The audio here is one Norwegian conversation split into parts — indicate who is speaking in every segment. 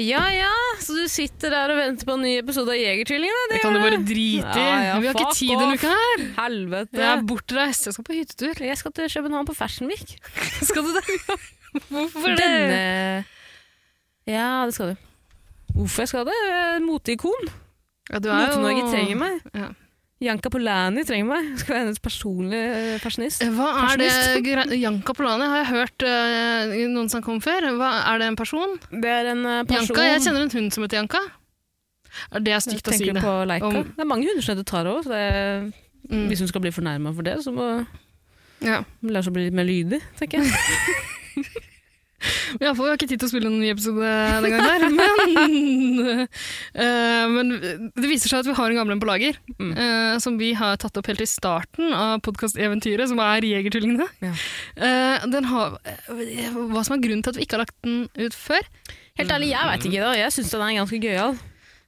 Speaker 1: Ja ja, så du sitter der og venter på en ny episode av Jegertvillingene?
Speaker 2: Det kan du bare drite i.
Speaker 1: Ja, ja,
Speaker 2: Vi har ikke
Speaker 1: fuck
Speaker 2: tid denne
Speaker 1: off.
Speaker 2: uka her.
Speaker 1: Helvete.
Speaker 2: Jeg er bortreist. Jeg skal på hyttetur.
Speaker 1: Jeg skal til København på Fashion Week.
Speaker 2: Skal du det? Hvorfor det?
Speaker 1: Denne Ja, det skal du. Hvorfor jeg skal det? Jeg er et Moteikon.
Speaker 2: Ja, du er jo-
Speaker 1: Mote-Norge trenger meg.
Speaker 2: Ja.
Speaker 1: Janka Polani trenger meg. Jeg skal være hennes personlige eh, fashionist.
Speaker 2: Hva er det gre- Jan Capolani har jeg hørt eh, noen som kom før. Hva, er det en person?
Speaker 1: Det er en eh, person
Speaker 2: Janka, jeg kjenner en hund som heter Janka. Er det er stygt å si
Speaker 1: Tenker du
Speaker 2: det.
Speaker 1: på Leica?
Speaker 2: Om-
Speaker 1: Det er mange hunder som heter Taro. Så det er,
Speaker 2: Mm.
Speaker 1: Hvis hun skal bli fornærma for det, så må
Speaker 2: Ja.
Speaker 1: hun lære seg å bli litt mer lydig, tenker jeg.
Speaker 2: Men i alle fall, vi har ikke tid til å spille noen ny episode den gangen her, men, eh, men det viser seg at vi har en gammel en på lager,
Speaker 1: Mm.
Speaker 2: eh, som vi har tatt opp helt i starten av podcasteventyret, som er Jegertvillingene.
Speaker 1: Ja.
Speaker 2: Eh, den har, eh, hva som er grunnen til at vi ikke har lagt den ut før?
Speaker 1: Helt ærlig, jeg veit ikke. da. Jeg syns den er ganske gøyal.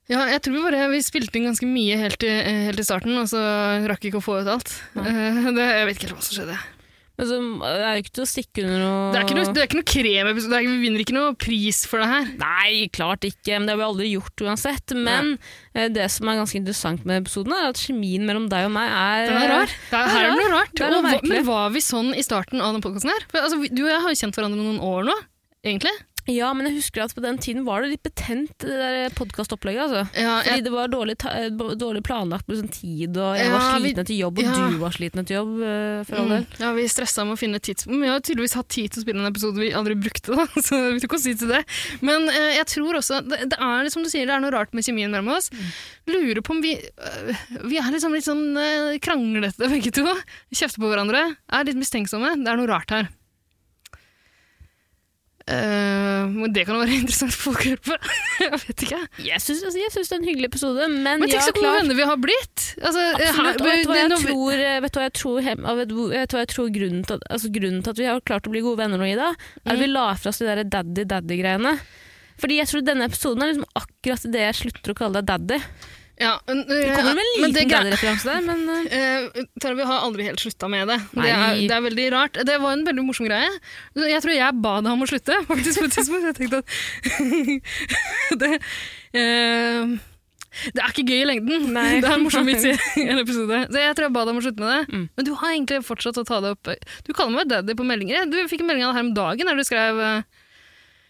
Speaker 2: Ja, jeg tror vi bare vi spilte inn ganske mye helt i, eh, helt i starten, og så rakk vi ikke å få ut alt.
Speaker 1: Nei.
Speaker 2: Eh, det, jeg vet ikke helt hva som skjedde.
Speaker 1: Men så, Altså, det er jo ikke til å stikke under noe
Speaker 2: Det er ikke noe, det er ikke noe kremepisode, det er ikke- vi vinner ikke noe pris for det her.
Speaker 1: Nei, klart ikke. Men det har vi aldri gjort uansett. Men eh, det som er ganske interessant med episoden, er at kjemien mellom deg og meg er
Speaker 2: Den er rar. Eh, Det er, her er det noe rart.
Speaker 1: Det er noe
Speaker 2: og, hva-
Speaker 1: merkelig.
Speaker 2: men var vi sånn i starten av denne podkasten her? For, altså, vi- du og jeg har jo kjent hverandre noen år nå, egentlig.
Speaker 1: Ja, men jeg husker at på den tiden var det litt betent, det der podkastopplegget. Altså.
Speaker 2: Ja,
Speaker 1: Fordi det var dårlig, ta eh, dårlig planlagt med sånn tid, og jeg var
Speaker 2: Ja, vi-
Speaker 1: sliten etter jobb, og
Speaker 2: ja.
Speaker 1: du var sliten etter jobb. eh, for all del.
Speaker 2: mm, ja, vi stressa med å finne tidspunkt. Men vi har jo tydeligvis hatt tid til å spille en episode vi aldri brukte, da. Så vi tok oss tid til det. Men eh, jeg tror også at det, det er som du sier, det er noe rart med kjemien mellom oss.
Speaker 1: Mm.
Speaker 2: Lurer på om vi øh, Vi er liksom litt sånn eh, kranglete begge to. Kjefter på hverandre. Er litt mistenksomme. Det er noe rart her. Eh, men det kan jo være interessant for folk å høre på. jeg vet ikke.
Speaker 1: Jeg syns altså, jeg syns det er en hyggelig episode, men,
Speaker 2: Men
Speaker 1: ja,
Speaker 2: tenk så gode
Speaker 1: klart.
Speaker 2: venner vi har blitt! Altså,
Speaker 1: Absolutt, og
Speaker 2: her-
Speaker 1: vet du hva jeg
Speaker 2: når vi-
Speaker 1: tror, eh, vet du hva jeg tror, hem- og vet du hvor- vet du hva jeg tror grunnen, til at, altså, grunnen til at vi har klart å bli gode venner nå, Ida, er at vi
Speaker 2: Mm.
Speaker 1: la fra oss de der daddy-daddy-greiene. Fordi jeg tror denne episoden er liksom akkurat det jeg slutter å kalle deg daddy.
Speaker 2: Ja, men,
Speaker 1: Du
Speaker 2: eh,
Speaker 1: kommer med en
Speaker 2: men
Speaker 1: liten
Speaker 2: det er grei-
Speaker 1: daddy-referanse der, men eh,
Speaker 2: Eh, Tara, vi har aldri helt slutta med det. Det er,
Speaker 1: Nei.
Speaker 2: det er veldig rart. Det var en veldig morsom greie. Jeg tror jeg ba deg om å slutte, faktisk, på et tidspunkt. Jeg tenkte at det, eh, det er ikke gøy i lengden.
Speaker 1: Nei.
Speaker 2: Det er en morsom vits i en episode. Så jeg tror jeg ba deg om å slutte med det.
Speaker 1: Mm.
Speaker 2: Men du har egentlig fortsatt å ta det opp. Du kaller meg daddy på meldinger. Du fikk en melding av det her om dagen der du skrev eh,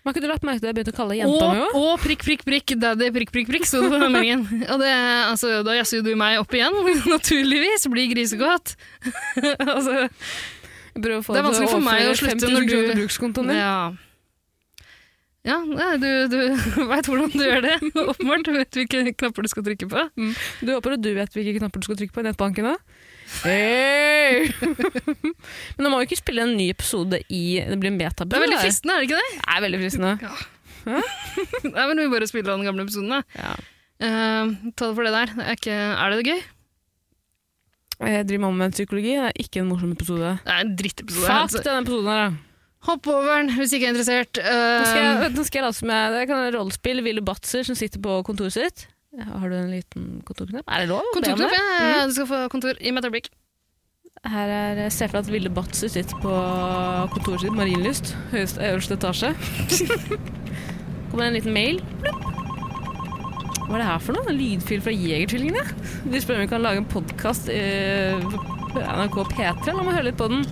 Speaker 1: Har ikke du lagt merke til at jeg begynte å kalle jenta mi
Speaker 2: Og,
Speaker 1: òg?
Speaker 2: og prikk, prikk, prikk, daddy, prikk, prikk, prikk, sto det på den meldingen. Og det, altså, da jazzer jo du meg opp igjen, naturligvis, blir grisegodt. altså, det er vanskelig for meg å slutte når du-
Speaker 1: brukskontoen din.
Speaker 2: ja. Ja, nei, du, du veit hvordan du gjør det, åpenbart. Du vet hvilke knapper du skal trykke på.
Speaker 1: Du håper at du vet hvilke knapper du skal trykke på i nettbanken da? Hey! Men nå må vi ikke spille en ny episode i Det blir en beta
Speaker 2: Det er veldig fristende, er det ikke det?
Speaker 1: Det er veldig fristende.
Speaker 2: Nei, men Vi bare spiller av den gamle episoden, da.
Speaker 1: Ja.
Speaker 2: Eh, ta det for det der. Det er, ikke, er det det gøy?
Speaker 1: Jeg driver med omvendt psykologi. Det er ikke en morsom episode.
Speaker 2: Det er en drittepisode.
Speaker 1: Fuck
Speaker 2: Altså,
Speaker 1: denne episoden her, da.
Speaker 2: Hopp over den hvis ikke er interessert. Eh,
Speaker 1: Nå skal jeg, nå skal jeg late som jeg Det kan være rollespill. Willy Batzer som sitter på kontoret sitt. Ja, Har du en liten kontorknapp? Er det lov? å be om
Speaker 2: kontorknapp,
Speaker 1: det?
Speaker 2: ja, ja, du skal få kontor. Gi meg et øyeblikk.
Speaker 1: Her er Se for deg at Ville Batzer sitter på kontoret sitt, Marienlyst, høyest, øverste etasje. Kommer det en liten mail. Plupp. Hva er det her for noe? En lydfil fra Jegertvillingene? De spør om vi kan lage en podkast på NRK P3. La meg høre litt på den.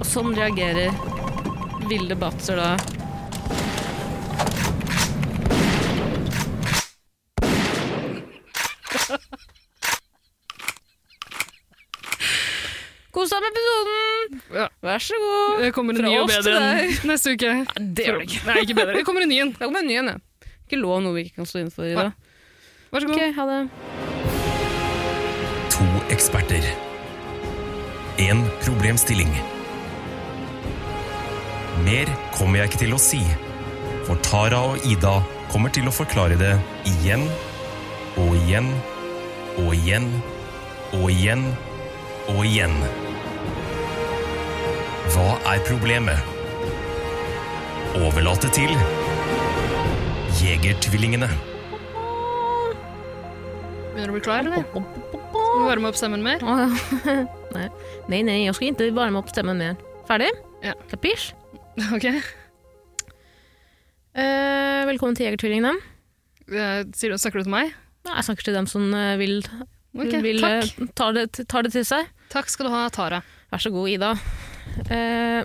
Speaker 1: Og sånn reagerer Vilde Batzer da. Kos deg med episoden!
Speaker 2: Ja.
Speaker 1: Vær så god.
Speaker 2: Det Eh, kommer en
Speaker 1: Fra
Speaker 2: ny og
Speaker 1: oss
Speaker 2: bedre
Speaker 1: til
Speaker 2: enn neste uke.
Speaker 1: Det gjør det ikke.
Speaker 2: Nei, ikke bedre. Det kommer en ny en.
Speaker 1: Da kommer en ny en, ja. Ikke lov noe vi ikke kan stå inne for i dag.
Speaker 2: Vær så god.
Speaker 1: Ok, ha det.
Speaker 3: To eksperter. En problemstilling. Mer kommer jeg ikke til å si, for Tara og Ida kommer til å forklare det igjen og igjen og igjen og igjen og igjen. Hva er problemet? Overlate til Jegertvillingene.
Speaker 2: Begynner du å bli klar, eller? Skal vi varme opp stemmen mer?
Speaker 1: Å, ja. nei. nei, nei, jeg skal ikke varme opp stemmen mer. Ferdig?
Speaker 2: Ja.
Speaker 1: Kapisj?
Speaker 2: Ok.
Speaker 1: Eh, velkommen til Jegertvillingene.
Speaker 2: Eh, Sier du, snakker du til meg?
Speaker 1: Ja, Jeg snakker til dem som eh, vil,
Speaker 2: Ok,
Speaker 1: vil eh,
Speaker 2: takk.
Speaker 1: tar, det, tar det til seg.
Speaker 2: Takk skal du ha, Tara.
Speaker 1: Vær så god, Ida. Eh,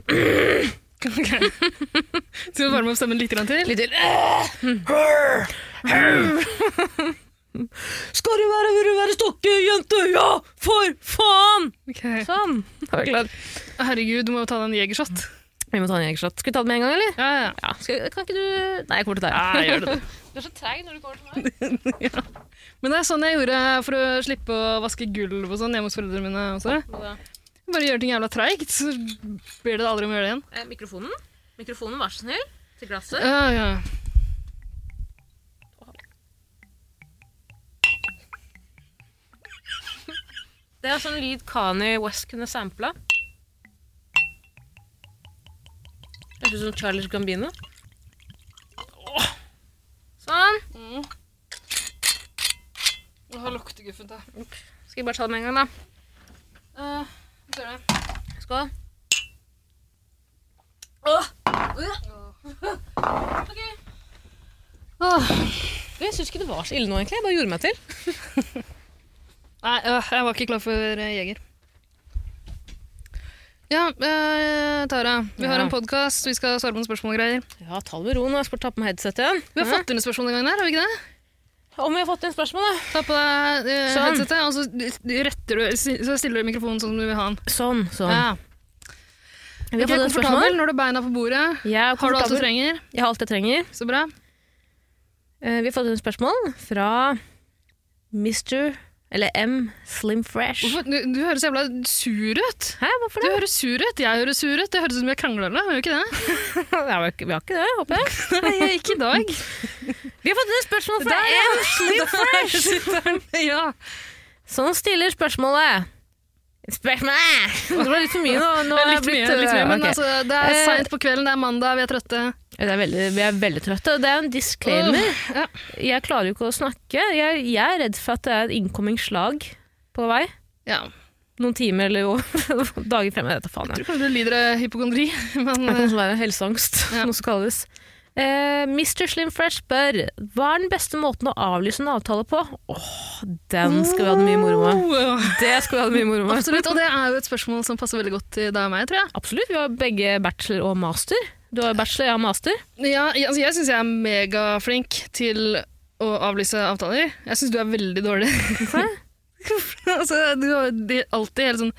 Speaker 2: Ok. Skal du varme opp stemmen litt grann til?
Speaker 1: litt til. Skal du være, vil du være stokkejente? Ja, for faen!
Speaker 2: Ok.
Speaker 1: Sånn. Da er vi klare.
Speaker 2: Herregud, du må jo ta deg en jegershot.
Speaker 1: Vi må ta en jegershot. Skal vi ta det med en gang, eller?
Speaker 2: Ja, ja.
Speaker 1: Ja, skal, kan ikke du Nei, jeg kommer til deg.
Speaker 2: Ja, gjør det.
Speaker 1: Du er så treig når du kommer til meg.
Speaker 2: Men det er sånn jeg gjorde for å slippe å vaske gulv og sånn hjemme hos foreldrene mine også. Jeg Bare gjør ting jævla treigt, så blir det aldri om å gjøre det igjen.
Speaker 1: Eh, Mikrofonen, Mikrofonen, vær så snill. Til glasset.
Speaker 2: Ja, ja.
Speaker 1: Det er sånn lyd Kanye West kunne sampla. Høres ut som Charles Gambino. Sånn.
Speaker 2: Nå har lukteguffet deg.
Speaker 1: Skal vi bare ta det med en gang, da. Skål. Du, Jeg syns ikke det var så ille nå, egentlig. Jeg bare gjorde meg til.
Speaker 2: Nei, øh, jeg var ikke klar for øh, jeger. Ja, øh, Tara. Vi har
Speaker 1: Ja.
Speaker 2: en podkast, vi skal svare på noen spørsmål og greier.
Speaker 1: Ja, ta det med ro nå. Jeg skal ta på meg headsetet igjen.
Speaker 2: Vi har fått inn et spørsmål den gangen her, har vi ikke det?
Speaker 1: Om vi har fått inn spørsmål, da.
Speaker 2: Ta på deg øh,
Speaker 1: Sånn.
Speaker 2: headsetet, og så, øh, retter du, så stiller du mikrofonen sånn som du vil ha den.
Speaker 1: Sånn, sånn.
Speaker 2: Ja.
Speaker 1: Vi
Speaker 2: Du
Speaker 1: har fått
Speaker 2: er
Speaker 1: inn spørsmål.
Speaker 2: komfortabel når du har beina på bordet.
Speaker 1: Jeg er
Speaker 2: Har du alt du
Speaker 1: komfortabel.
Speaker 2: trenger?
Speaker 1: Jeg har alt jeg trenger.
Speaker 2: Så bra.
Speaker 1: Eh, Vi har fått inn spørsmål fra Mr. eller M. Slim Fresh.
Speaker 2: Hvorfor? Du, du høres jævla sur ut.
Speaker 1: Hæ, hvorfor
Speaker 2: Du
Speaker 1: det?
Speaker 2: høres sur ut, jeg høres sur ut. Det høres ut som vi har krangla, gjør vi ikke det?
Speaker 1: Nei, vi har ikke- vi har ikke det, håper jeg.
Speaker 2: Nei, ikke i dag.
Speaker 1: Vi har fått inn spørsmål fra
Speaker 2: Der,
Speaker 1: M. Slim Fresh.
Speaker 2: ja.
Speaker 1: Sånn stiller spørsmålet. Spørsmålet! Det var litt for mye nå. nå
Speaker 2: Det er
Speaker 1: har jeg
Speaker 2: litt mye,
Speaker 1: blitt-
Speaker 2: litt mye men
Speaker 1: ok.
Speaker 2: altså, det er
Speaker 1: Eh,
Speaker 2: seint på kvelden, det er mandag, vi er trøtte.
Speaker 1: Det er veldig, vi er veldig trøtte. og Det er jo en disclaimer.
Speaker 2: Åh, ja.
Speaker 1: Jeg klarer jo ikke å snakke. Jeg, jeg er redd for at det er et innkomming slag på vei.
Speaker 2: Ja.
Speaker 1: Noen timer eller jo, dager fremme. Dette faen
Speaker 2: Jeg
Speaker 1: jeg.
Speaker 2: tror kanskje du lider av hypokondri, men
Speaker 1: Det
Speaker 2: eh,
Speaker 1: kan også være helseangst,
Speaker 2: Ja.
Speaker 1: noe som kalles. Eh, Mr. Slim Fresh spør hva er den beste måten å avlyse en avtale på? Åh, den skal vi ha det mye moro med.
Speaker 2: Wow.
Speaker 1: Det skal vi ha det mye moro med.
Speaker 2: eh, Absolutt. Og det er jo et spørsmål som passer veldig godt til deg og meg, tror jeg.
Speaker 1: Absolutt. Vi har begge bachelor og master. Du har bachelor, jeg har master.
Speaker 2: Ja, jeg- altså, jeg syns jeg er megaflink til å avlyse avtaler. Jeg syns du er veldig dårlig.
Speaker 1: Hvorfor det?
Speaker 2: altså, du har de- alltid helt sånn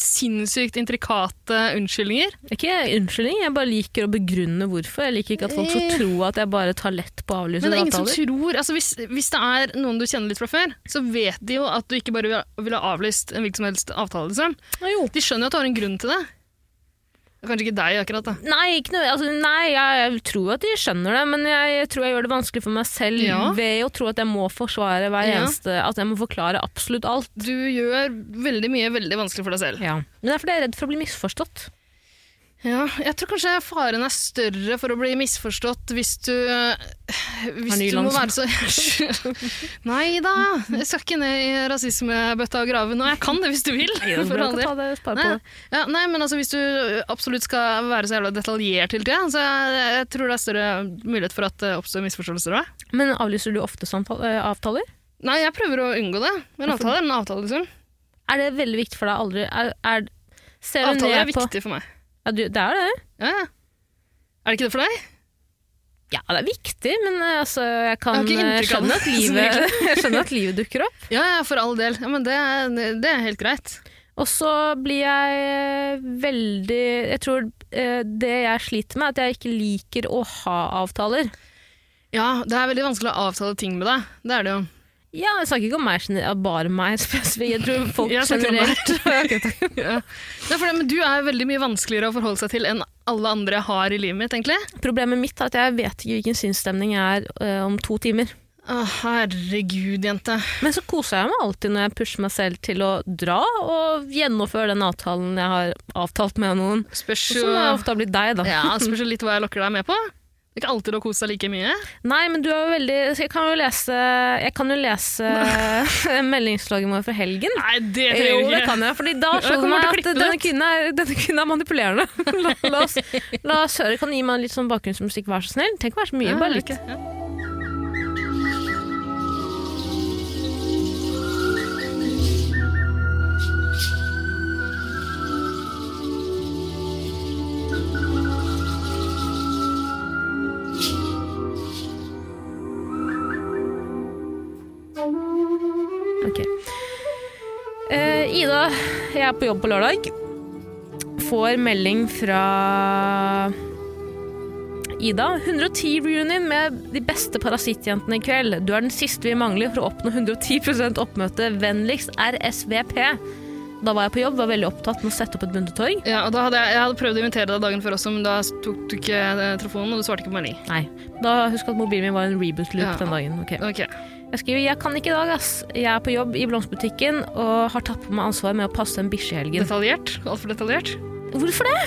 Speaker 2: sinnssykt intrikate unnskyldninger.
Speaker 1: Ikke unnskyldning, jeg bare liker å begrunne hvorfor. Jeg liker ikke at folk skal tro at jeg bare tar lett på
Speaker 2: Eh. Men det
Speaker 1: avlysende
Speaker 2: er ingen som
Speaker 1: avtaler.
Speaker 2: tror altså, hvis, hvis det er noen du kjenner litt fra før, så vet de jo at du ikke bare vil- vil ha avlyst en hvilken som helst avtale. Liksom.
Speaker 1: Å, jo.
Speaker 2: De skjønner jo at du har en grunn til det. Det er Kanskje ikke deg akkurat, da.
Speaker 1: Nei, ikke noe, altså, nei jeg, jeg tror at de skjønner det, men jeg, tror jeg gjør det vanskelig for meg selv
Speaker 2: Ja.
Speaker 1: ved å tro at jeg må forsvare hver
Speaker 2: Ja.
Speaker 1: eneste At jeg må forklare absolutt alt.
Speaker 2: Du gjør veldig mye veldig vanskelig for deg selv.
Speaker 1: Men det er fordi jeg er redd for å bli misforstått.
Speaker 2: Ja, jeg tror kanskje faren er større for å bli misforstått hvis du eh, Hvis
Speaker 1: ny
Speaker 2: du må være
Speaker 1: langsom.
Speaker 2: så Nei da, jeg skal ikke ned i rasismebøtta og grave nå. Jeg kan det hvis du vil.
Speaker 1: For
Speaker 2: for all
Speaker 1: all
Speaker 2: del.
Speaker 1: del.
Speaker 2: Nei, ja, nei, men altså, hvis du absolutt skal være så jævla detaljert hele tida, så jeg, jeg tror det er større mulighet for at det oppstår misforståelser òg.
Speaker 1: Men avlyser du ofte samtal- eh, avtaler?
Speaker 2: Nei, jeg prøver å unngå det. Men
Speaker 1: Hvorfor?
Speaker 2: avtale er en avtale, liksom.
Speaker 1: Er det veldig viktig for deg aldri er, er, Ser du
Speaker 2: Avtaler er
Speaker 1: ned på
Speaker 2: viktig for meg.
Speaker 1: ja, du, Det er det.
Speaker 2: Ja, ja. Er det ikke det for deg?
Speaker 1: Ja, det er viktig, men eh, altså, jeg kan
Speaker 2: Jeg har ikke
Speaker 1: eh,
Speaker 2: inntrykk av
Speaker 1: skjønne at,
Speaker 2: det, så
Speaker 1: livet, jeg skjønner at livet dukker opp.
Speaker 2: Ja, ja, for all del. Ja, men det, er- det er helt greit.
Speaker 1: Og så blir jeg eh, veldig Jeg tror eh, det jeg sliter med, er at jeg ikke liker å ha avtaler.
Speaker 2: Ja, det er veldig vanskelig å avtale ting med deg. Det er det jo.
Speaker 1: Ja, jeg snakker ikke om meg, gene- bare meg spesifikt. Jeg tror folk
Speaker 2: Jeg snakker om
Speaker 1: generelt Ok, takk.
Speaker 2: Ja. Det er for det, men du er veldig mye vanskeligere å forholde seg til enn alle andre jeg har i livet mitt, egentlig.
Speaker 1: Problemet mitt er at jeg vet ikke hvilken sinnsstemning jeg er eh, om to timer.
Speaker 2: Å, herregud, jente.
Speaker 1: Men så koser jeg meg alltid når jeg pusher meg selv til å dra og gjennomføre den avtalen jeg har avtalt med noen.
Speaker 2: Spørs
Speaker 1: Og
Speaker 2: jo
Speaker 1: Som ofte har blitt deg, da.
Speaker 2: Ja, spørs jo litt hva jeg lokker deg med på. Det er ikke alltid du har kost deg like mye.
Speaker 1: Nei, men du er jo veldig Jeg kan jo lese, jeg kan jo lese meldingsslaget vår fra helgen.
Speaker 2: Nei, det
Speaker 1: Jo,
Speaker 2: trenger du
Speaker 1: det
Speaker 2: ikke.
Speaker 1: kan jeg, fordi da
Speaker 2: Ja,
Speaker 1: slo det
Speaker 2: kommer
Speaker 1: meg
Speaker 2: til å
Speaker 1: at
Speaker 2: klippe
Speaker 1: denne
Speaker 2: ut.
Speaker 1: kvinnen er, denne kvinnen er manipulerende. la, la oss, la oss høre. Kan du gi meg litt sånn bakgrunnsmusikk, vær så snill? Tenk å være så mye,
Speaker 2: Ja,
Speaker 1: bare litt.
Speaker 2: ok, ja.
Speaker 1: Ok. Eh, Ida, jeg er på jobb på lørdag. Får melding fra Ida. 110-reunion med de beste Parasittjentene i kveld. Du er den siste vi mangler for å oppnå 110 oppmøte. Vennligst RSVP. Da var jeg på jobb, var veldig opptatt med å sette opp et bundetorg.
Speaker 2: Ja, og da hadde jeg, jeg hadde prøvd å invitere deg dagen før også, men da tok du ikke eh, telefonen, og du svarte ikke på melding.
Speaker 1: Nei. Da husk at mobilen min var en reboot-loop
Speaker 2: Ja.
Speaker 1: den dagen. Ok.
Speaker 2: Ok.
Speaker 1: Jeg skriver 'Jeg kan ikke i dag, ass'. Jeg er på jobb i blomsterbutikken og har tatt på meg ansvar med å passe en bikkje i helgen.
Speaker 2: Detaljert? Altfor detaljert?
Speaker 1: Hvorfor det?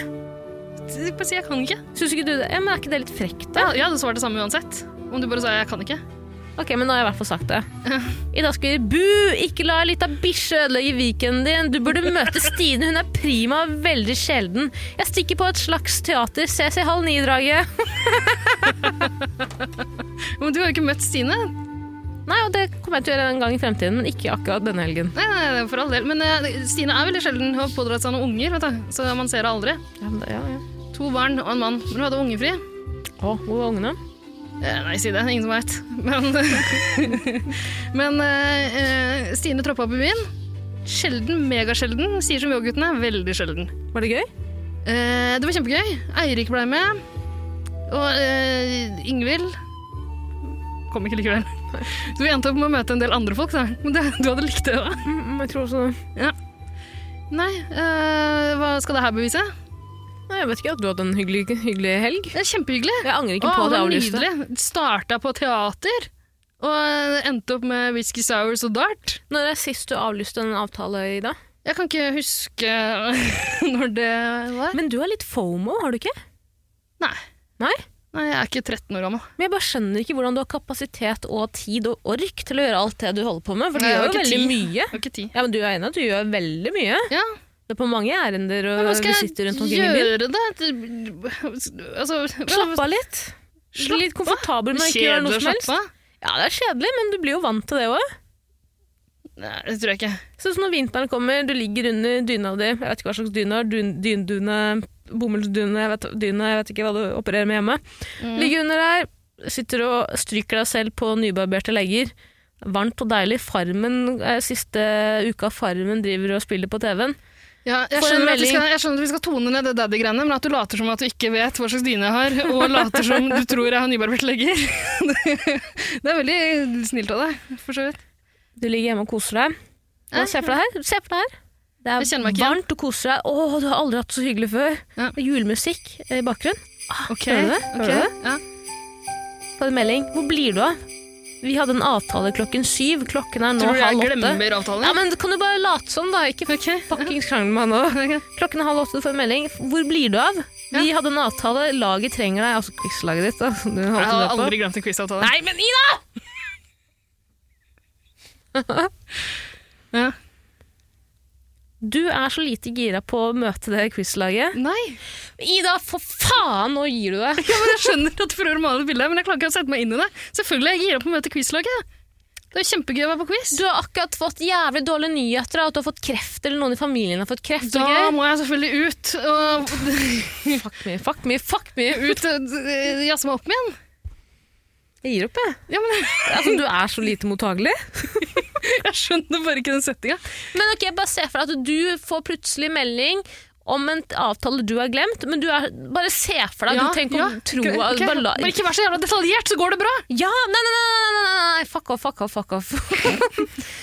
Speaker 2: Jeg Bare si 'jeg kan ikke'.
Speaker 1: Syns ikke du det? Ja, men er ikke det litt frekt, da?
Speaker 2: Ja, jeg hadde svart det samme uansett. Om du bare sa 'jeg kan ikke'.
Speaker 1: Ok, men nå har jeg i hvert fall sagt det. I dag skriver Bu! Ikke la ei lita bikkje ødelegge weekenden din. Du burde møte Stine. Hun er prima og veldig sjelden. Jeg stikker på et slags teater. Ses i halv ni-draget.
Speaker 2: Men du har jo ikke møtt Stine.
Speaker 1: Nei, og det kommer jeg til å gjøre en gang i fremtiden, men ikke akkurat denne helgen.
Speaker 2: Nei, nei, nei, for all del. Men eh, Stine er veldig sjelden. Hun har pådratt seg noen unger, vet du. så man ser henne aldri.
Speaker 1: Ja, men det- ja, ja.
Speaker 2: To barn og en mann. Men hun hadde ungefri.
Speaker 1: Å, hvor var ungene?
Speaker 2: Eh, nei, si det. Ingen som veit. Men, men eh, eh, Stine troppa opp i byen. Sjelden, megasjelden. Sier som Yo-guttene, veldig sjelden.
Speaker 1: Var det gøy?
Speaker 2: Eh, det var kjempegøy. Eirik ble med. Og eh, Ingvild kom ikke likevel. Du endte opp med å møte en del andre folk, da. men det, du hadde likt det òg.
Speaker 1: Mm, jeg tror også det.
Speaker 2: Nei, eh, hva skal det her bevise?
Speaker 1: Nei, jeg vet ikke at du hadde en hyggelig, hyggelig helg.
Speaker 2: Det er kjempehyggelig.
Speaker 1: Jeg angrer ikke
Speaker 2: Å,
Speaker 1: på at jeg
Speaker 2: det var
Speaker 1: avlyste.
Speaker 2: nydelig. Starta på teater. Og endte opp med whisky sours og dart.
Speaker 1: Når er sist du avlyste en avtale, Ida?
Speaker 2: Jeg kan ikke huske når det var.
Speaker 1: Men du har litt fomo, har du ikke?
Speaker 2: Nei.
Speaker 1: Nei?
Speaker 2: Nei, jeg er ikke 13 år gammel.
Speaker 1: Men jeg bare skjønner ikke hvordan du har kapasitet og tid og ork til å gjøre alt det du holder på med, for du
Speaker 2: Nei, jeg
Speaker 1: gjør
Speaker 2: har
Speaker 1: jo
Speaker 2: ikke
Speaker 1: veldig
Speaker 2: tid.
Speaker 1: mye.
Speaker 2: Jeg er ikke 10.
Speaker 1: Ja, men du er enig i at du gjør veldig mye.
Speaker 2: Ja,
Speaker 1: Det er på mange ærender og
Speaker 2: men hva skal
Speaker 1: visitter rundt
Speaker 2: jeg
Speaker 1: omkring i byen.
Speaker 2: gjøre da? Det- Altså,
Speaker 1: Slapp av litt. Bli litt komfortabel med å ikke gjøre noe som helst.
Speaker 2: av?
Speaker 1: Ja, det er kjedelig, men du blir jo vant til det òg.
Speaker 2: Nei, det tror jeg ikke.
Speaker 1: Sånn som når vinteren kommer, du ligger under dyna di, jeg vet ikke hva slags dyne, du har, dyn- dyndune, bomullsdyne, jeg vet, dyne, jeg vet ikke hva du opererer med hjemme.
Speaker 2: Mm.
Speaker 1: Ligger under der, sitter og stryker deg selv på nybarberte legger. Varmt og deilig. Farmen, eh, siste uka Farmen driver og spiller på TV-en.
Speaker 2: Ja, jeg,
Speaker 1: Får en
Speaker 2: skjønner at vi
Speaker 1: melding.
Speaker 2: skal, jeg skjønner at vi skal tone ned det daddy-greiene, men at du later som at du ikke vet hva slags dyne jeg har, og later som du tror jeg har nybarbert legger. Det er veldig snilt av deg, for så vidt.
Speaker 1: Du ligger hjemme og koser deg.
Speaker 2: Nei,
Speaker 1: Og se for deg her. Se for deg her. Det
Speaker 2: Jeg kjenner meg
Speaker 1: er
Speaker 2: ikke igjen.
Speaker 1: varmt, du koser deg. Å, du har aldri hatt det så hyggelig før.
Speaker 2: Ja.
Speaker 1: Det er Julemusikk i bakgrunnen. Ah,
Speaker 2: Ok,
Speaker 1: Hører du det? Hører
Speaker 2: ok,
Speaker 1: du det?
Speaker 2: ja.
Speaker 1: Får en melding. Hvor blir du av? Vi hadde en avtale klokken syv. Klokken er nå
Speaker 2: Tror du jeg
Speaker 1: halv åtte.
Speaker 2: glemmer avtalen?
Speaker 1: Ja, men Kan du bare late som, da? Ikke
Speaker 2: Ok.
Speaker 1: fuckings krangle med meg nå.
Speaker 2: Ok.
Speaker 1: Klokken er halv åtte, du får en melding. Hvor blir du av? Vi hadde en avtale. Laget trenger deg. Altså quizlaget ditt. Da. som Du
Speaker 2: Jeg har
Speaker 1: holdt med på.
Speaker 2: aldri glemt en quizavtale.
Speaker 1: Nei, men Ida!
Speaker 2: Ja.
Speaker 1: Du er så lite gira på å møte det quizlaget.
Speaker 2: Nei.
Speaker 1: Ida, for faen! Nå gir du deg.
Speaker 2: Ja, men jeg skjønner at du prøver å male et bilde, men jeg klarer ikke å sette meg inn i det. Selvfølgelig, jeg gir opp å møte quizlaget. Det er jo kjempegøy å være på quiz.
Speaker 1: Du har akkurat fått jævlig dårlige nyheter av at du har fått kreft, eller noen i familien har fått kreft.
Speaker 2: Da
Speaker 1: ok?
Speaker 2: må jeg selvfølgelig ut og
Speaker 1: Fuck me, fuck me, fuck me!
Speaker 2: ut og eh, jazze meg opp igjen.
Speaker 1: Jeg gir opp, jeg.
Speaker 2: Ja, men
Speaker 1: Altså, du er så lite mottagelig.
Speaker 2: Jeg skjønner bare ikke den settinga.
Speaker 1: Men ok, bare se for deg at du får plutselig melding om en avtale du har glemt, men du er, bare se for deg.
Speaker 2: Ja,
Speaker 1: du trenger
Speaker 2: ja,
Speaker 1: ikke å tro
Speaker 2: ok,
Speaker 1: at-
Speaker 2: ok.
Speaker 1: bare la-
Speaker 2: Bare ikke vær så jævla detaljert, så går det bra!
Speaker 1: Ja, nei, nei, nei, nei, nei, nei, nei, fuck off, fuck off, fuck off.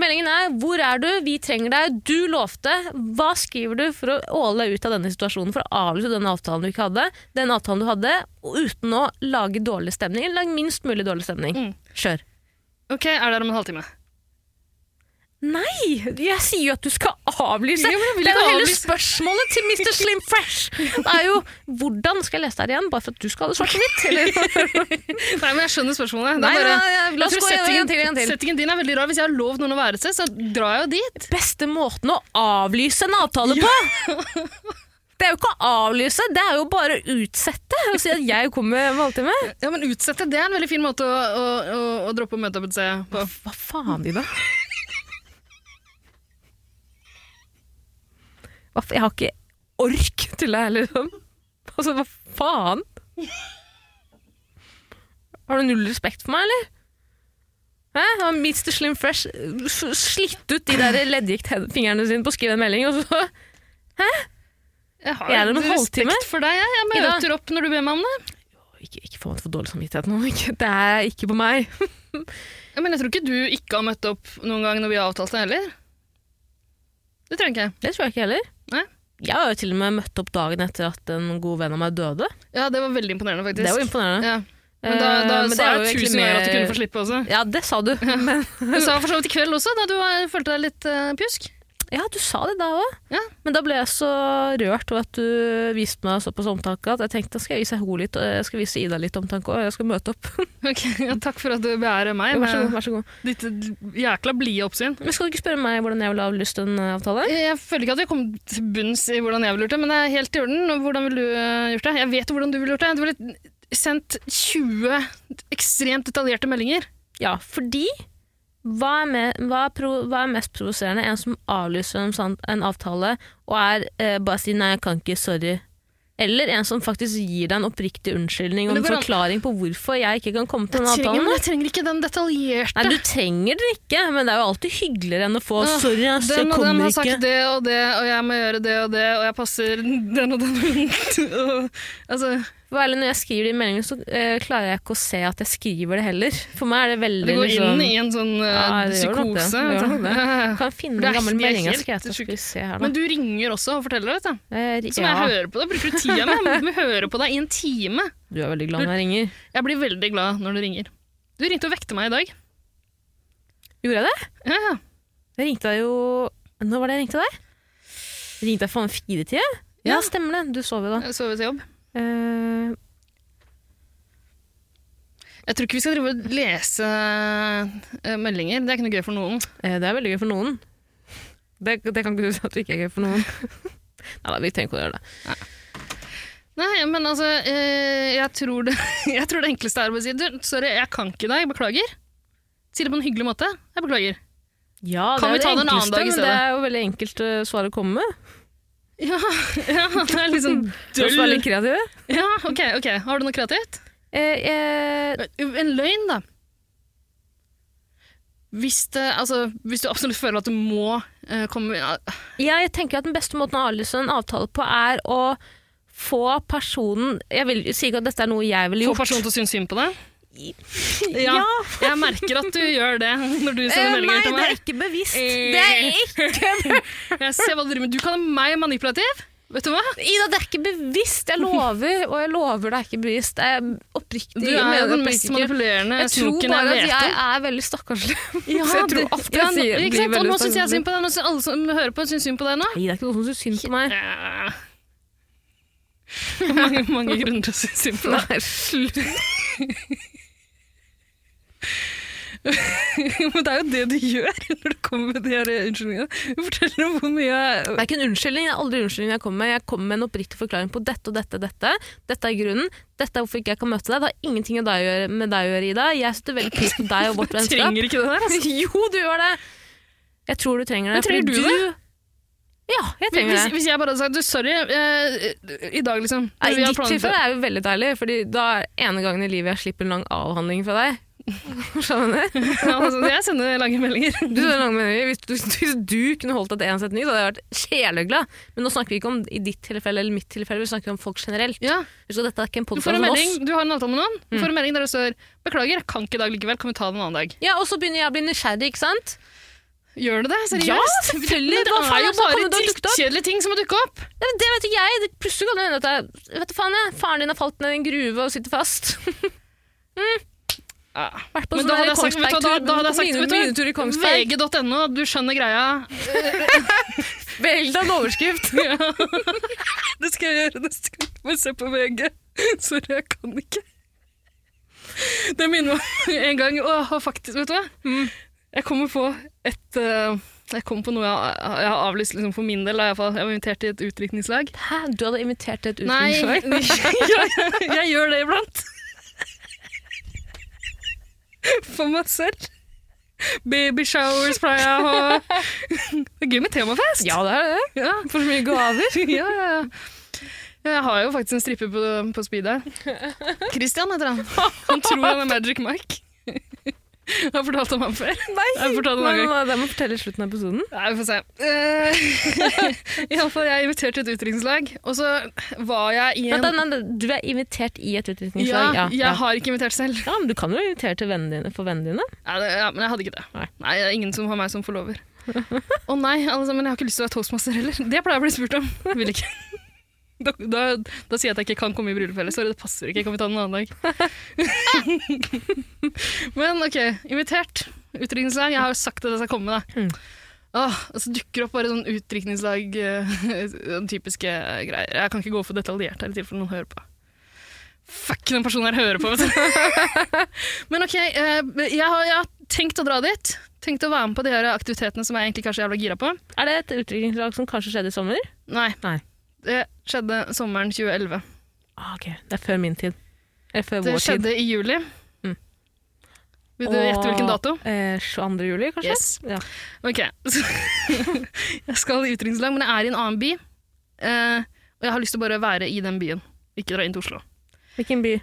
Speaker 1: Meldingen er 'Hvor er du? Vi trenger deg. Du lovte.' Hva skriver du for å åle deg ut av denne situasjonen, for å avlyse den avtalen du ikke hadde, den avtalen du hadde, og uten å lage dårlig stemning, eller lage minst mulig dårlig stemning.
Speaker 2: Mm.
Speaker 1: Kjør.
Speaker 2: Ok, er der om en halvtime.
Speaker 1: Nei! Jeg sier jo at du skal avlyse!
Speaker 2: Ja, men jeg vil
Speaker 1: det er
Speaker 2: ikke
Speaker 1: jo hele
Speaker 2: avlyse.
Speaker 1: spørsmålet til Mr. Slim Fresh! Det er jo hvordan skal jeg lese det her igjen, bare for at du skal ha det svart og hvitt? Eller?
Speaker 2: Nei, men jeg skjønner spørsmålet. Det
Speaker 1: Nei,
Speaker 2: er bare,
Speaker 1: nei, nei, la oss
Speaker 2: jeg tror
Speaker 1: gå igjen,
Speaker 2: settingen-
Speaker 1: en til, en til.
Speaker 2: Settingen din er veldig rar. Hvis jeg har lovt noen å være et sted, så drar jeg jo dit.
Speaker 1: Beste måten å avlyse en avtale på! Det er jo ikke å avlyse, det er jo bare å utsette og si at jeg kommer om en halvtime.
Speaker 2: Ja, men utsette, det er en veldig fin måte å, å, å, å droppe å møte opp et sted på.
Speaker 1: Hva faen, Ida? Hva fa- Jeg har ikke ork til det her, liksom. Altså, hva faen? Har du null respekt for meg, eller? Hæ? Har Mr. Slim Fresh eh, s- slitt ut de der leddgiktfingrene sine på å skrive en melding, og så
Speaker 2: Jeg har
Speaker 1: Er det en
Speaker 2: litt
Speaker 1: halvtime?
Speaker 2: respekt for deg. Jeg, jeg
Speaker 1: Ida?
Speaker 2: møter opp når du ber meg om det.
Speaker 1: Ikke, ikke få meg til å få dårlig samvittighet nå. Ikke, det er ikke på meg.
Speaker 2: Ja, men jeg tror ikke du ikke har møtt opp noen gang når vi har avtalt det heller. Det tror jeg ikke.
Speaker 1: Det tror jeg ikke heller.
Speaker 2: Nei.
Speaker 1: Jeg har jo til og med møtt opp dagen etter at en god venn av meg døde.
Speaker 2: Ja, det var veldig imponerende, faktisk.
Speaker 1: Det er jo imponerende.
Speaker 2: Ja. Men da, da
Speaker 1: Eh, men det
Speaker 2: sa
Speaker 1: er
Speaker 2: jeg
Speaker 1: jo
Speaker 2: tusen
Speaker 1: egentlig
Speaker 2: ganger at du
Speaker 1: mer-
Speaker 2: kunne få slippe også.
Speaker 1: Ja, det sa du. Men,
Speaker 2: Du sa for så vidt i kveld også, da du var, følte deg litt eh, pjusk.
Speaker 1: ja, du sa det da òg.
Speaker 2: Ja.
Speaker 1: Men da ble jeg så rørt over at du viste meg såpass omtanke at jeg tenkte skal jeg vise henne litt, og jeg skal vise Ida litt omtanke, og jeg skal møte opp.
Speaker 2: Ok, ja, takk for at du beærer meg
Speaker 1: Vær så god.
Speaker 2: med
Speaker 1: vær så god.
Speaker 2: ditt jækla blide oppsyn.
Speaker 1: Men skal du ikke spørre meg hvordan jeg ville avlyst en eh, avtale?
Speaker 2: Jeg føler ikke at vi kom til bunns i hvordan jeg ville gjort det, men det er helt i orden. Og Hvordan ville du eh, gjort det? Jeg vet jo hvordan du ville gjort det. Du ville sendt 20 ekstremt detaljerte meldinger.
Speaker 1: Ja, fordi hva er, me- hva, er pro, hva er mest provoserende? En som avlyser en, sånn- en avtale og er, eh, bare sier 'nei, jeg kan ikke, sorry'. Eller en som faktisk gir deg en oppriktig unnskyldning og
Speaker 2: Men
Speaker 1: en
Speaker 2: det går an-
Speaker 1: forklaring på hvorfor jeg ikke kan komme til den
Speaker 2: Jeg trenger,
Speaker 1: avtalen.
Speaker 2: men jeg trenger ikke den detaljerte.
Speaker 1: Nei, du trenger den ikke, men det er jo alltid hyggeligere enn å få
Speaker 2: Åh,
Speaker 1: 'sorry, ass, jeg
Speaker 2: den og den
Speaker 1: kommer
Speaker 2: har sagt
Speaker 1: ikke'.
Speaker 2: det og det, og jeg må gjøre det og det, og jeg passer den og den og, altså,
Speaker 1: For ærlig, når jeg skriver de meldingene, så eh, klarer jeg ikke å se at jeg skriver det heller. For meg er det veldig
Speaker 2: Det går
Speaker 1: liksom-
Speaker 2: inn i en sånn eh,
Speaker 1: Ja, det gjør nok det.
Speaker 2: psykose.
Speaker 1: Det gjør nok det.
Speaker 2: vet du.
Speaker 1: Jeg kan finne
Speaker 2: Det er-
Speaker 1: den gamle
Speaker 2: vi er
Speaker 1: meldinga.
Speaker 2: helt
Speaker 1: Skal
Speaker 2: sjuke.
Speaker 1: jeg se her, da.
Speaker 2: Men du ringer også og forteller det, vet du.
Speaker 1: Eh,
Speaker 2: Som jeg hører på deg. Bruker du tida mi? Jeg må høre på deg i en time.
Speaker 1: Du er veldig glad når jeg ringer.
Speaker 2: Jeg blir veldig glad når du ringer. Du ringte og vekte meg i dag.
Speaker 1: Gjorde jeg det?
Speaker 2: Ja, ja.
Speaker 1: Jeg ringte deg jo Når var det jeg ringte deg? Jeg ringte deg faen firetida? Ja,
Speaker 2: Ja.
Speaker 1: stemmer det. Du sov jo da.
Speaker 2: Jeg sover til jobb.
Speaker 1: Eh,
Speaker 2: Jeg tror ikke vi skal drive og lese eh, meldinger. Det er ikke noe gøy for noen.
Speaker 1: eh, det er veldig gøy for noen. Det, det kan ikke du si at det ikke er gøy for noen. Nei da, vi trenger ikke å gjøre det.
Speaker 2: Nei, men altså, eh, jeg tror det, jeg tror det enkleste er å bare si du, sorry, jeg kan ikke i dag, beklager. Si det på en hyggelig måte. Jeg beklager.
Speaker 1: Ja,
Speaker 2: Kan
Speaker 1: er
Speaker 2: vi
Speaker 1: jo
Speaker 2: ta det en annen dag i
Speaker 1: men det
Speaker 2: stedet?
Speaker 1: er jo veldig enkelt eh, svar å komme med.
Speaker 2: Ja, ja det er liksom
Speaker 1: Vi skal være
Speaker 2: døll.
Speaker 1: litt kreative.
Speaker 2: Ja, ok, ok. Har du noe kreativt?
Speaker 1: Eh, eh,
Speaker 2: En løgn, da. Hvis, det, altså, hvis du absolutt føler at du må eh, komme ja,
Speaker 1: jeg tenker at den beste måten å avlyse en avtale på, er å få personen Jeg vil si ikke at dette er noe jeg ville
Speaker 2: Få
Speaker 1: gjort.
Speaker 2: personen til å synes synd på deg
Speaker 1: ja.
Speaker 2: Ja. Jeg merker at du gjør det når du
Speaker 1: Eh,
Speaker 2: sender
Speaker 1: nei,
Speaker 2: meldinger til
Speaker 1: det er
Speaker 2: meg.
Speaker 1: ikke bevisst.
Speaker 2: Eh.
Speaker 1: Det er ikke
Speaker 2: Jeg ser hva Du driver med. Du kaller meg manipulativ. Vet du hva?
Speaker 1: Ida, det er ikke bevisst. Jeg lover, og jeg lover det er ikke bevisst. Jeg er oppriktig.
Speaker 2: Du
Speaker 1: jeg
Speaker 2: er
Speaker 1: mener
Speaker 2: den
Speaker 1: oppriktig.
Speaker 2: mest manipulerende
Speaker 1: Jeg tror
Speaker 2: snoken jeg
Speaker 1: bare at
Speaker 2: vet
Speaker 1: jeg
Speaker 2: om.
Speaker 1: er veldig stakkarslig.
Speaker 2: Ja,
Speaker 1: så jeg
Speaker 2: det-
Speaker 1: tror alt jeg
Speaker 2: ja, nå-
Speaker 1: sier blir
Speaker 2: ikke sant? Og
Speaker 1: veldig
Speaker 2: Nå syns jeg
Speaker 1: stakkarslig.
Speaker 2: synd på deg. Nå syns alle som hører på, syns synd på deg nå.
Speaker 1: Nei, det er ikke noen som syns synd på meg.
Speaker 2: Eh, Mange, mange grunner til å synes synd på deg.
Speaker 1: Nei, slutt.
Speaker 2: Men det er jo det du gjør når du kommer med de her unnskyldningene. Du forteller om hvor mye
Speaker 1: Det er ikke en unnskyldning. Det er aldri en unnskyldning jeg kommer med. Jeg kommer med en oppriktig forklaring på dette og dette og dette. Dette er grunnen. Dette er hvorfor ikke jeg kan møte deg. Det har ingenting med deg å gjøre, med deg å gjøre Ida. Jeg setter veldig pris på deg og vårt
Speaker 2: Jeg
Speaker 1: vennskap.
Speaker 2: trenger ikke det der. Altså.
Speaker 1: Jo, du gjør det! Jeg tror du trenger det.
Speaker 2: Men trenger
Speaker 1: fordi
Speaker 2: du det?
Speaker 1: Ja, jeg trenger det.
Speaker 2: Hvis, hvis jeg bare hadde sagt du, sorry, eh, i dag liksom når
Speaker 1: Nei,
Speaker 2: vi
Speaker 1: I
Speaker 2: har
Speaker 1: ditt
Speaker 2: planlagt
Speaker 1: tilfelle er jo veldig deilig, Fordi da er ene gangen i livet jeg slipper en lang avhandling fra deg. Skjønner du?
Speaker 2: det- Ja, altså, Jeg sender lange meldinger.
Speaker 1: Du er lang mening. Hvis, du, hvis du kunne holdt deg til én setning, så hadde jeg vært kjeleglad. Men nå snakker vi ikke om i ditt tilfelle eller mitt tilfelle, vi snakker om folk generelt.
Speaker 2: Ja,
Speaker 1: Så dette er ikke en
Speaker 2: du
Speaker 1: podcast
Speaker 2: får en
Speaker 1: om
Speaker 2: melding,
Speaker 1: oss. Mm.
Speaker 2: du har en avtale med noen. Du får en melding der det står 'beklager, jeg kan ikke i dag likevel, kan vi ta det en annen dag'?
Speaker 1: Ja, Og så begynner jeg å bli nysgjerrig, ikke sant?
Speaker 2: Gjør du det? Seriøst?
Speaker 1: Ja, selvfølgelig!
Speaker 2: Men det
Speaker 1: Hva faen,
Speaker 2: er jo
Speaker 1: altså,
Speaker 2: bare
Speaker 1: kommer det å dukke opp?
Speaker 2: drittkjedelige ting som må dukke opp!
Speaker 1: Nei, men Det vet ikke jeg. Det- Plutselig kan det hende at jeg, vet du faen jeg, faren din har falt ned i en gruve og sitter fast. Vært på sånn
Speaker 2: Men da
Speaker 1: der
Speaker 2: hadde jeg sagt, vet du, hva, da, da hadde jeg sagt
Speaker 1: Kongsberg-tur,
Speaker 2: vet du,
Speaker 1: minitur i Kongsberg.
Speaker 2: VG.no, du skjønner greia.
Speaker 1: Velg deg en overskrift!
Speaker 2: Ja. Det skal jeg gjøre neste gang jeg må se på VG. Sorry, jeg kan ikke. Det minner meg om en gang Åh, faktisk, vet du hva? Jeg kommer på et eh, Jeg kommer på noe jeg, jeg har avlyst liksom, for min del. da, i hvert fall. Jeg var invitert til et utdrikningslag.
Speaker 1: Hæ, du hadde invitert til et
Speaker 2: Nei,
Speaker 1: utdrikningslag?
Speaker 2: jeg, jeg gjør det iblant. For meg selv. Babyshowers pleier jeg å ha. Det er gøy med temafest.
Speaker 1: Ja, det er det.
Speaker 2: Ja.
Speaker 1: For så mye gaver.
Speaker 2: ja, ja, ja. Ja, Jeg har jo faktisk en stripper på, på speedet. Christian heter han. Han tror han er Magic Mike. Jeg har fortalt om han før.
Speaker 1: Nei,
Speaker 2: Jeg har fortalt det
Speaker 1: nei,
Speaker 2: mange
Speaker 1: nei, nei, det må jeg fortelle i slutten av episoden.
Speaker 2: Nei, vi får se. Uh, Iallfall, jeg er invitert til et utdrikningslag, og så var jeg i en
Speaker 1: Vent, nei, nei, du er invitert i et
Speaker 2: ja,
Speaker 1: utdrikningslag?
Speaker 2: jeg har ikke invitert selv.
Speaker 1: Ja, men du kan jo invitere til vennene dine for vennene dine.
Speaker 2: Ja, det, ja, men jeg hadde ikke det.
Speaker 1: Nei.
Speaker 2: Nei, det er ingen som har meg som forlover. Å nei, alle sammen, jeg har ikke lyst til å være toastmaster heller. Det pleier jeg å bli spurt om. Vil ikke. Da, da, da sier jeg at jeg ikke kan komme i bryllupet heller. Sorry, det passer ikke. Kan vi ta det en annen dag? men ok, invitert. Utdrikningslag. Jeg har jo sagt at jeg skal komme, da.
Speaker 1: Mm.
Speaker 2: Åh, og så dukker det opp bare sånn utdrikningslag, eh, typiske greier. Jeg kan ikke gå for detaljert her i tilfelle noen hører på. Fuck, den personen her hører på, vet du. Men ok, eh, jeg, har, jeg har tenkt å dra dit. Tenkt å være med på de her aktivitetene som jeg egentlig kanskje er jævla gira på.
Speaker 1: Er det et utdrikningslag som kanskje skjedde i sommer?
Speaker 2: Nei.
Speaker 1: Nei.
Speaker 2: Det skjedde sommeren 2011.
Speaker 1: Ah, ok, Det er før min tid. Eller før
Speaker 2: Det
Speaker 1: vår tid.
Speaker 2: skjedde i juli.
Speaker 1: Mm.
Speaker 2: Vil du
Speaker 1: Og-
Speaker 2: gjette hvilken dato?
Speaker 1: Eh, 22. juli, kanskje?
Speaker 2: Yes.
Speaker 1: Ja.
Speaker 2: Ok. jeg skal i utdrikningslag, men jeg er i en annen by. Eh, og jeg har lyst til å bare være i den byen. Ikke dra inn til Oslo.
Speaker 1: Hvilken by?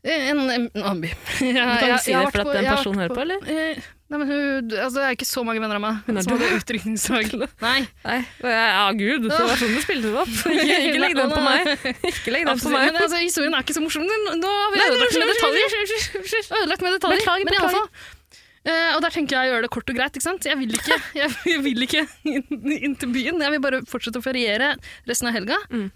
Speaker 2: Eh, En, en annen by. Jeg,
Speaker 1: Du kan
Speaker 2: jeg-
Speaker 1: ikke si
Speaker 2: jeg har
Speaker 1: det for
Speaker 2: vært
Speaker 1: at den
Speaker 2: jeg har vært
Speaker 1: personen hører på, eller?
Speaker 2: Eh, Nei, men hun, altså, Det er ikke så mange venner av meg
Speaker 1: Hun er
Speaker 2: som hadde utdrikningslag. Nei,
Speaker 1: Nei. Eh, Ja, gud, det var sånn du spilte det opp. Ikke, ikke legg den på meg. Ikke legg den på
Speaker 2: Absolutt.
Speaker 1: meg.
Speaker 2: Men altså, historien er ikke så morsom. Nå nå har vi
Speaker 1: Nei,
Speaker 2: ødelagt med
Speaker 1: unnskyld,
Speaker 2: detaljer. Ødelagt med detaljer.
Speaker 1: Beklager,
Speaker 2: men i alle
Speaker 1: beklager.
Speaker 2: fall. Eh, og der tenker jeg å gjøre det kort og greit. ikke sant? Jeg vil ikke, jeg, jeg vil ikke inn, inn til byen. Jeg vil bare fortsette å feriere resten av helga.
Speaker 1: Mm.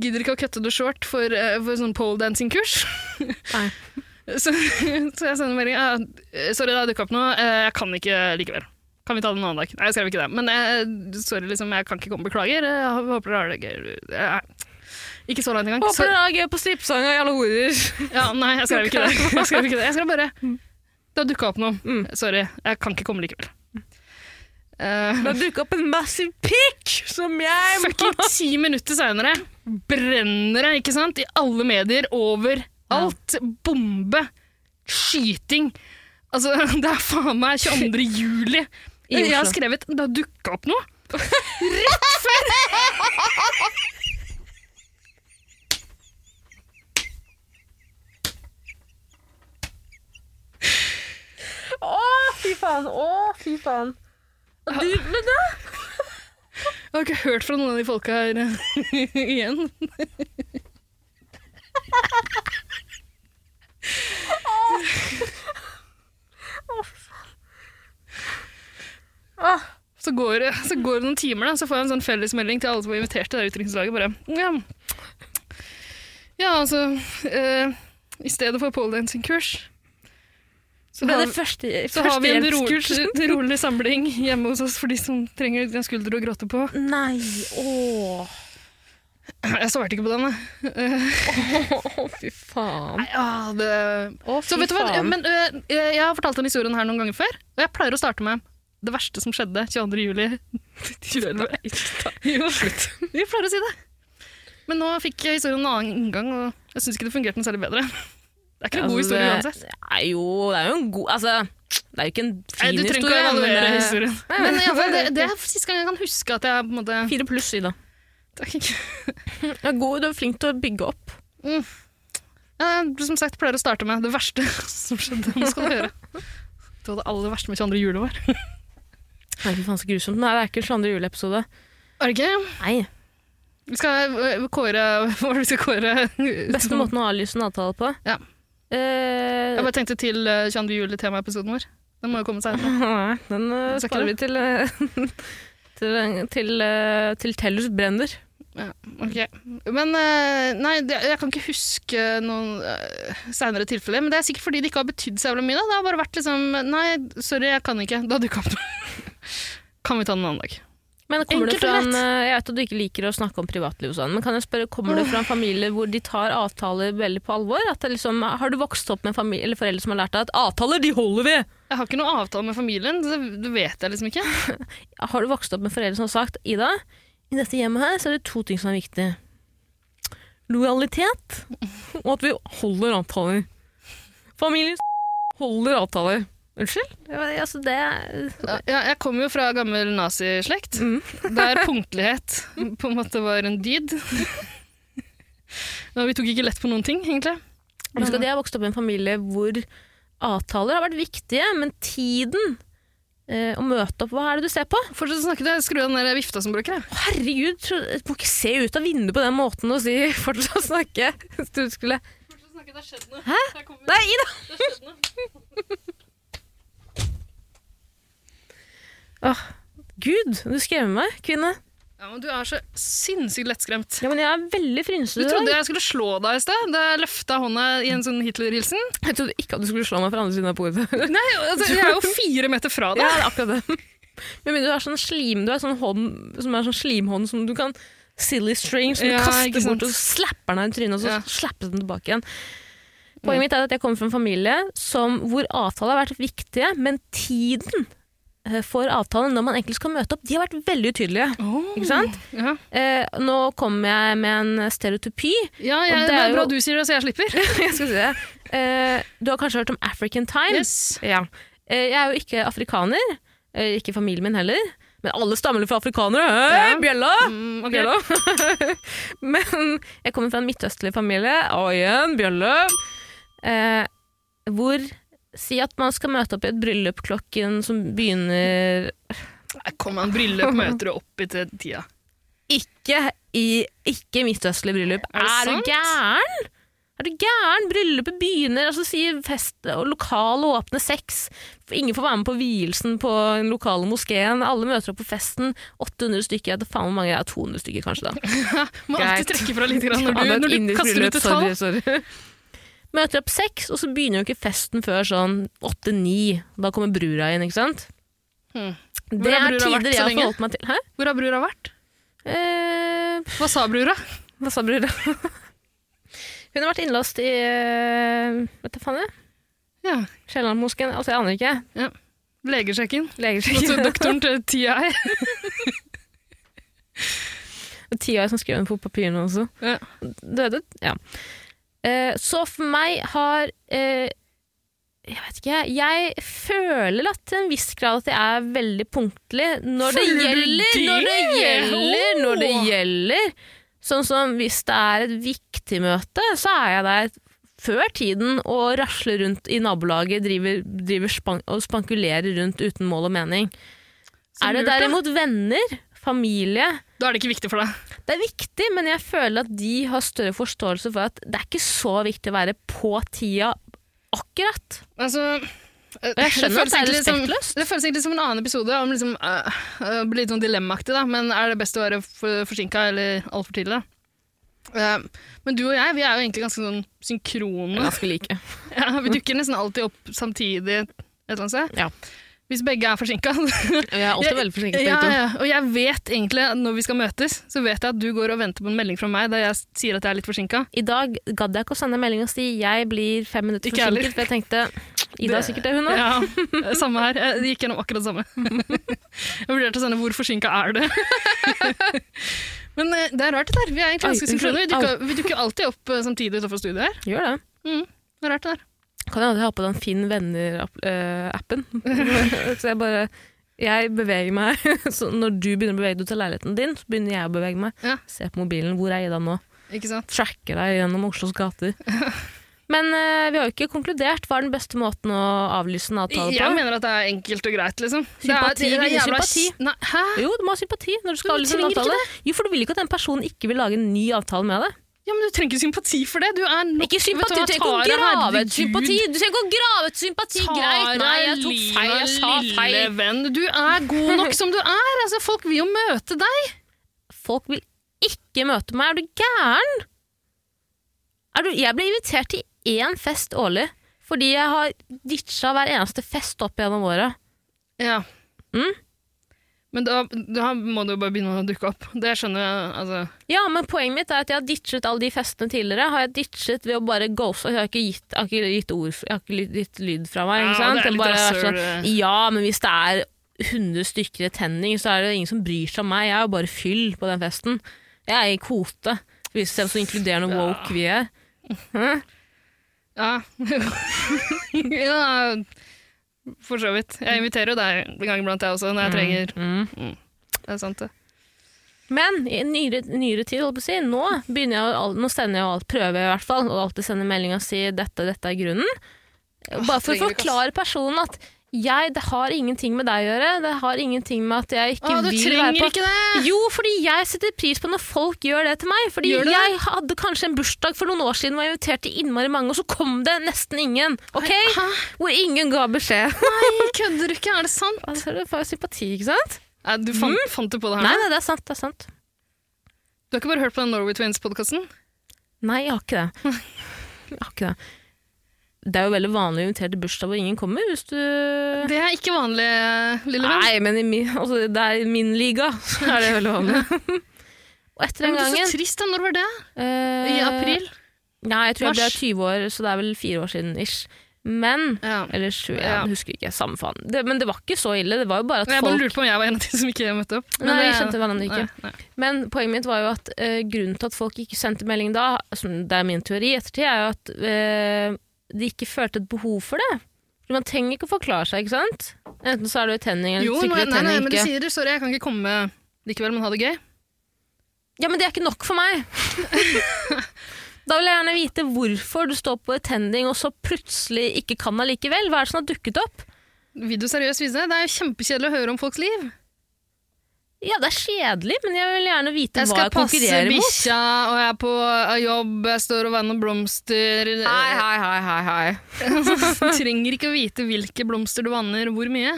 Speaker 2: Gidder ikke å cutte det short for, eh, for sånn poledancing-kurs.
Speaker 1: Nei.
Speaker 2: så, så jeg sender melding. «Ja, sorry, det har dukka opp noe. Eh, jeg kan ikke likevel. Kan vi ta det en annen dag? Nei, jeg skrev ikke det. Men eh, sorry, liksom, jeg kan ikke komme. Beklager. Jeg håper dere har det gøy. Eh, Ikke så langt engang.
Speaker 1: Håper
Speaker 2: Sorry.
Speaker 1: dere har gøy på strippesanga, jævla horer.
Speaker 2: Ja, nei, jeg skrev ikke det. Jeg skrev, ikke det. Jeg skrev bare
Speaker 1: Mm.
Speaker 2: Det har dukka opp noe. Sorry, jeg kan ikke komme likevel.
Speaker 1: Mm.
Speaker 2: Eh,
Speaker 1: Det har dukket opp en massiv pikk som jeg
Speaker 2: fucking ti minutter seinere brenner det, ikke sant? I alle medier, overalt. Bombe. Skyting. Altså, det er faen meg 22. juli.
Speaker 1: I Oslo.
Speaker 2: Jeg har skrevet 'det har dukka opp noe'.
Speaker 1: Å, fy faen. Å, fy faen. Og du, men da?
Speaker 2: Jeg har ikke hørt fra noen av de folka her eh, igjen.
Speaker 1: Åh.
Speaker 2: Så går, det, så går det noen timer, da, så får jeg en sånn fellesmelding til alle som var invitert til det utenrikslaget. Bare, ja. ja, altså eh, I stedet for poledancing-kurs så
Speaker 1: Ble
Speaker 2: har-
Speaker 1: det første,
Speaker 2: så har vi en
Speaker 1: førstehjelpskurs?
Speaker 2: ro- rolig samling hjemme hos oss for de som trenger en skulder å gråte på.
Speaker 1: Nei, åh.
Speaker 2: Jeg svarte ikke på den, jeg.
Speaker 1: Å, fy faen.
Speaker 2: Ja, det...
Speaker 1: Å, fy
Speaker 2: Så vet du hva,
Speaker 1: faen.
Speaker 2: men øh, jeg har fortalt den historien her noen ganger før, og jeg pleier å starte med det verste som skjedde 22. juli 2011. Jo, slutt. Vi pleier å si det. Men nå fikk jeg historien en annen inngang, og jeg syns ikke det fungerte noe særlig bedre. Det er ikke en god
Speaker 1: Altså,
Speaker 2: historie
Speaker 1: det-
Speaker 2: uansett.
Speaker 1: Nei, jo, det er jo en god Altså, det er jo ikke en fin
Speaker 2: Nei,
Speaker 1: historie.
Speaker 2: du trenger ikke å evaluere
Speaker 1: men, eh,
Speaker 2: historien.
Speaker 1: Nei,
Speaker 2: Men
Speaker 1: men-
Speaker 2: i alle fall, det, det er siste gang jeg kan huske at jeg på en måte
Speaker 1: Fire pluss, Ida.
Speaker 2: Takk.
Speaker 1: Du er god, du er flink til å bygge opp.
Speaker 2: Jeg som sagt, pleier å starte med det verste som skjedde. Nå skal du høre. Det var det aller verste med 22. juli var.
Speaker 1: Nei, fy faen, så grusomt. Nei, det er ikke en 22. juleepisode.
Speaker 2: Er det ikke?
Speaker 1: Nei.
Speaker 2: Vi skal øh, kåre Hva er det vi skal kåre?
Speaker 1: Beste måten å avlyse en avtale på.
Speaker 2: Ja.
Speaker 1: Eh,
Speaker 2: Jeg bare tenkte til øh, 22. juli-temaepisoden vår. Den må jo komme senere.
Speaker 1: Nei, den eh,
Speaker 2: Skal
Speaker 1: sparer
Speaker 2: ikke
Speaker 1: vi til eh, til, til, eh, til eh, Tellus brenner.
Speaker 2: Ok. Men eh, nei, det, jeg kan ikke huske noen uh, seinere tilfeller. Men det er sikkert fordi det ikke har betydd så jævla mye. Da. Det har bare vært liksom Nei, sorry, jeg kan ikke. Da dukka opp noe. kan vi ta den en annen dag?
Speaker 1: Men kommer
Speaker 2: Enkelt
Speaker 1: det fra
Speaker 2: og
Speaker 1: en,
Speaker 2: lett.
Speaker 1: eh, jeg vet at du ikke liker å snakke om privatliv og sånn, men kan jeg spørre, kommer det fra en familie hvor de tar avtaler veldig på alvor? At det liksom, har du vokst opp med familie, eller foreldre som har lært deg at avtaler, de holder vi?
Speaker 2: Jeg har ikke noe avtale med familien, så det- det vet jeg liksom ikke.
Speaker 1: Har du vokst opp med foreldre som har sagt, Ida, i dette hjemmet her så er det to ting som er viktig. Lojalitet, og at vi holder avtaler. Familien holder avtaler. Unnskyld? Ja, altså det...
Speaker 2: Ja, jeg kommer jo fra gammel nazislekt,
Speaker 1: Mm.
Speaker 2: der punktlighet på en måte var en dyd. Ja, vi tok ikke lett på noen ting, egentlig.
Speaker 1: Men
Speaker 2: Mm.
Speaker 1: skal de ha vokst opp i en familie hvor avtaler har vært viktige, men tiden eh, å møte opp, hva er det du ser på?
Speaker 2: Fortsett å snakke, jeg skrur av den der vifta som bruker. Jeg.
Speaker 1: Herregud, tro- du må ikke se ut av vinduet på den måten og si 'fortsett å snakke'. Hvis du skulle
Speaker 2: Fortsett å snakke, det har skjedd noe.
Speaker 1: Nei, Ida! Åh, Gud, du skremmer meg, kvinne.
Speaker 2: Ja, men du er så sinnssykt lettskremt.
Speaker 1: Ja, men jeg er veldig
Speaker 2: Du
Speaker 1: frynsete. i
Speaker 2: trodde
Speaker 1: dag.
Speaker 2: jeg skulle slå deg i sted, da jeg løfta hånda i en sånn Hitler-hilsen.
Speaker 1: jeg trodde ikke at du skulle slå meg fra andre siden av bordet.
Speaker 2: Nei, altså, jeg er jo fire meter fra
Speaker 1: Ja,
Speaker 2: deg.
Speaker 1: det er akkurat det. Men mener du har sånn slim, du har sånn hånd som er sånn slimhånd som du kan silly string, som du
Speaker 2: Ja, ikke
Speaker 1: kaster
Speaker 2: sant.
Speaker 1: bort og slapper den i trynet, og så
Speaker 2: Ja.
Speaker 1: slapper den tilbake igjen. Poenget mitt er at jeg kommer fra en familie som, hvor avtaler har vært viktige, men tiden eh, for avtalen når man egentlig skal møte opp, de har vært veldig utydelige.
Speaker 2: Åh,
Speaker 1: Ikke sant?
Speaker 2: Ja,
Speaker 1: Eh, nå kommer jeg med en stereotypi.
Speaker 2: ja jeg,
Speaker 1: Og
Speaker 2: det, er
Speaker 1: jo-
Speaker 2: bra du sier det, så jeg slipper.
Speaker 1: Jeg skal si det. Eh, du har kanskje hørt om African Time?
Speaker 2: Yes.
Speaker 1: Ja. Eh, Jeg er jo ikke afrikaner, eh, ikke familien min heller. Men alle stammer fra afrikanere! Hei,
Speaker 2: Ja.
Speaker 1: bjella!
Speaker 2: Mm, ok.
Speaker 1: bjella. Men jeg kommer fra en midtøstlig familie, og igjen bjelle. Eh, hvor Si at man skal møte opp i et bryllup klokken som begynner
Speaker 2: Nei, Kom an, bryllup møter du opp i til tida.
Speaker 1: Ikke i ikke midtøstlig bryllup.
Speaker 2: Er det
Speaker 1: Er,
Speaker 2: sant?
Speaker 1: du gæren? Er du gæren? Bryllupet begynner, altså sier fest og lokale åpne seks. Ingen får være med på vielsen på den lokale moskeen. Alle møter opp på festen. 800 stykker, jeg vet da faen hvor mange jeg er. 200 stykker kanskje, da.
Speaker 2: Må alltid
Speaker 1: Greit.
Speaker 2: trekke fra litt grann
Speaker 1: Ja,
Speaker 2: når du,
Speaker 1: det er et
Speaker 2: når du
Speaker 1: indisk
Speaker 2: kaster
Speaker 1: bryllup,
Speaker 2: ut et tall.
Speaker 1: Sorry, sorry. Møter opp seks, og så begynner jo ikke festen før sånn åtte-ni. Da kommer brura inn, ikke sant?
Speaker 2: Hmm. Hvor
Speaker 1: Det
Speaker 2: har
Speaker 1: er
Speaker 2: brura vært
Speaker 1: tider
Speaker 2: så
Speaker 1: jeg har
Speaker 2: lenge?
Speaker 1: forholdt meg til. Hæ?
Speaker 2: Hvor har brura vært?
Speaker 1: Eh,
Speaker 2: Hva sa brura?
Speaker 1: Hva sa brura? Hun har vært innlåst i øh, Vet du faen jeg?
Speaker 2: Ja,
Speaker 1: Kiellandmoskeen? Altså, jeg aner ikke.
Speaker 2: legesjekken. Altså
Speaker 1: Legesjekk.
Speaker 2: doktoren til TI.
Speaker 1: Tia som skrev den på papirene også.
Speaker 2: Ja.
Speaker 1: Døde. Ja. Eh, så for meg har eh, Jeg vet ikke, jeg føler at til en viss grad at jeg er veldig punktlig når det
Speaker 2: Føler du
Speaker 1: gjelder. Når det
Speaker 2: det?
Speaker 1: gjelder, når det
Speaker 2: Åh!
Speaker 1: gjelder. Sånn som hvis det er et viktig møte, så er jeg der før tiden og rasler rundt i nabolaget driver, driver span og spankulerer rundt uten mål og mening.
Speaker 2: Så
Speaker 1: er det
Speaker 2: lurt, da.
Speaker 1: derimot venner, familie,
Speaker 2: Da er det ikke viktig for deg.
Speaker 1: det er viktig, men jeg føler at de har større forståelse for at det er ikke så viktig å være på tida akkurat.
Speaker 2: Altså, eh,
Speaker 1: Jeg skjønner
Speaker 2: føles
Speaker 1: at det er
Speaker 2: egentlig som-
Speaker 1: respektløst.
Speaker 2: Det føles egentlig som en annen episode om liksom, eh, eh, blir litt sånn dilemmaaktig, da. Men er det best å være for, forsinka eller altfor tidlig? Eh, men du og jeg, vi er jo egentlig ganske sånn synkrone.
Speaker 1: Ganske like.
Speaker 2: Ja, vi dukker nesten alltid opp samtidig et eller annet sted.
Speaker 1: Ja.
Speaker 2: Hvis begge er forsinka.
Speaker 1: Jeg er alltid
Speaker 2: Jeg-
Speaker 1: veldig forsinket.
Speaker 2: ja,
Speaker 1: begge to.
Speaker 2: ja. Og jeg vet egentlig at når vi skal møtes, så vet jeg at du går og venter på en melding fra meg der jeg s- sier at jeg er litt forsinka.
Speaker 1: I dag gadd jeg ikke å sende en melding og si jeg blir fem minutter
Speaker 2: Ikke jeg heller.
Speaker 1: forsinket, for jeg tenkte Ida er sikkert det hun òg.
Speaker 2: Ja, eh, samme her. Jeg gikk gjennom akkurat det samme. Jeg vurderte å sende 'hvor forsinka er det?' Men eh, det er rart, det der. Vi er egentlig
Speaker 1: Oi,
Speaker 2: ganske
Speaker 1: unnskyld.
Speaker 2: synkrone. Vi dukker- Vi dukker alltid opp eh, samtidig utafor studiet her.
Speaker 1: Gjør det.
Speaker 2: Mm, det er rart, det der.
Speaker 1: Kan jeg aldri ha på den Finn venner-appen. så jeg bare jeg beveger meg, så Når du begynner å bevege deg ut av leiligheten din, så begynner jeg å bevege meg.
Speaker 2: Ja.
Speaker 1: Se på mobilen. Hvor er Ida nå?
Speaker 2: Ikke sant?
Speaker 1: tracker deg gjennom Oslos gater. Men eh, vi har jo ikke konkludert. Hva er den beste måten å avlyse en avtale
Speaker 2: Jeg
Speaker 1: på?
Speaker 2: mener at det er enkelt og greit, liksom. Det er-
Speaker 1: Sympati
Speaker 2: det er
Speaker 1: vinner
Speaker 2: jævla-
Speaker 1: sympati.
Speaker 2: Nei, hæ?
Speaker 1: Jo, du må ha sympati når du skal
Speaker 2: Men du
Speaker 1: avlyse en
Speaker 2: trenger ikke
Speaker 1: avtale. Jo, for du vil ikke at den personen ikke vil lage en ny avtale med deg.
Speaker 2: Ja, men du trenger ikke sympati for det. Du er nok
Speaker 1: Ikke sympati, du
Speaker 2: Vet
Speaker 1: trenger ikke å
Speaker 2: hva, Tara,
Speaker 1: grave
Speaker 2: herregud.
Speaker 1: et sympati! Du trenger ikke å grave et sympati,
Speaker 2: Tara,
Speaker 1: greit! Nei, jeg tok feil, jeg sa
Speaker 2: lille
Speaker 1: feil.
Speaker 2: venn. Du er god nok som du er. Altså, folk vil jo møte deg.
Speaker 1: Folk vil ikke møte meg! Er du gæren?! Er du, jeg blir invitert til én fest årlig, fordi jeg har ditcha hver eneste fest opp gjennom året.
Speaker 2: Ja.
Speaker 1: Mm.
Speaker 2: Men da, da må det jo bare begynne å dukke opp. Det skjønner jeg. altså.
Speaker 1: Ja, men poenget mitt er at jeg har ditchet alle de festene tidligere. Har jeg ditchet ved å bare ghoste? Jeg har ikke gitt, jeg har ikke gitt, ord, jeg har ikke gitt lyd fra meg.
Speaker 2: Ja,
Speaker 1: ikke sant?
Speaker 2: det er
Speaker 1: Jeg
Speaker 2: litt
Speaker 1: bare vært
Speaker 2: rasshøl, eh.
Speaker 1: sånn,
Speaker 2: det.
Speaker 1: Ja, men hvis det er 100 stykker i tenning, så er det ingen som bryr seg om meg. Jeg er jo bare fyll på den festen. Jeg er i kvote. Det Viser seg så inkluderende woke vi er.
Speaker 2: Ja. ja. For så vidt. Jeg inviterer jo deg en gang iblant, jeg også, når jeg trenger.
Speaker 1: Mm.
Speaker 2: Det er sant, det.
Speaker 1: Men i nyere, nyere tid, holdt på å si, nå, begynner jeg, å al- nå sender jeg jo alt, prøver jeg i hvert fall, å alltid sende melding og si dette, dette er grunnen. Bare for å
Speaker 2: trenger vi ikke,
Speaker 1: forklare personen at jeg, det har ingenting med deg å gjøre, det har ingenting med at jeg ikke
Speaker 2: Å, du
Speaker 1: vil være
Speaker 2: trenger
Speaker 1: på
Speaker 2: ikke det!
Speaker 1: Jo, fordi jeg setter pris på når folk gjør det til meg. Fordi
Speaker 2: Gjør du det?
Speaker 1: jeg hadde kanskje en bursdag for noen år siden hvor jeg inviterte innmari mange, og så kom det nesten ingen. Ok?
Speaker 2: Hæ?
Speaker 1: Hvor ingen ga beskjed.
Speaker 2: Nei, kødder du ikke? Er det sant? Mm.
Speaker 1: Altså, det var jo sympati, ikke sant?
Speaker 2: Nei, du fant, fant det på det her?
Speaker 1: Nei, nei, det er sant. det er sant.
Speaker 2: Du har ikke bare hørt på den Norway Twins-podkasten?
Speaker 1: Nei, jeg har ikke det. Jeg har ikke det. Det er jo veldig vanlig å invitere til bursdag hvor ingen kommer, hvis du
Speaker 2: Det er ikke vanlig, lille venn.
Speaker 1: Nei, men i min, altså, det er i min liga, så er det veldig vanlig. Og etter
Speaker 2: Men
Speaker 1: den
Speaker 2: det er
Speaker 1: gangen
Speaker 2: så trist, da. Når var det?
Speaker 1: eh,
Speaker 2: I april?
Speaker 1: Nei, jeg tror jeg ble
Speaker 2: Mars?
Speaker 1: 20 år, så det er vel fire år siden ish. Men
Speaker 2: Ja.
Speaker 1: Eller 21,
Speaker 2: Ja.
Speaker 1: husker ikke. Samme faen. Det, men det var ikke så ille. Det var jo bare at
Speaker 2: Jeg bare
Speaker 1: folk
Speaker 2: lurte på om jeg var en av de som ikke møtte opp.
Speaker 1: Nei, vi
Speaker 2: det-
Speaker 1: skjønte hverandre ikke.
Speaker 2: Nei, nei.
Speaker 1: Men poenget mitt var jo at eh, grunnen til at folk ikke sendte melding da, som det er min teori i ettertid, er jo at eh, de ikke følte et behov for det. For man trenger ikke å forklare seg, ikke sant? Enten så er du i tenning, eller
Speaker 2: Jo,
Speaker 1: så
Speaker 2: nei,
Speaker 1: ikke du i
Speaker 2: nei, nei,
Speaker 1: tenning.
Speaker 2: men du
Speaker 1: Ikke.
Speaker 2: sier det. Sorry, jeg kan ikke komme likevel, men ha det gøy.
Speaker 1: Ja, men det er ikke nok for meg! da vil jeg gjerne vite hvorfor du står på i tenning, og så plutselig ikke kan allikevel. Hva er det som har dukket opp?
Speaker 2: Vil du seriøst vise det? Det er jo kjempekjedelig å høre om folks liv.
Speaker 1: Ja, det er kjedelig, men jeg vil gjerne vite
Speaker 2: Jeg
Speaker 1: hva
Speaker 2: skal
Speaker 1: jeg
Speaker 2: passe
Speaker 1: konkurrerer mot.
Speaker 2: bikkja, og jeg er på eh, jobb, jeg står og vanner blomster.
Speaker 1: hei, hei, hei, hei.
Speaker 2: Du trenger ikke å vite hvilke blomster du vanner, hvor mye.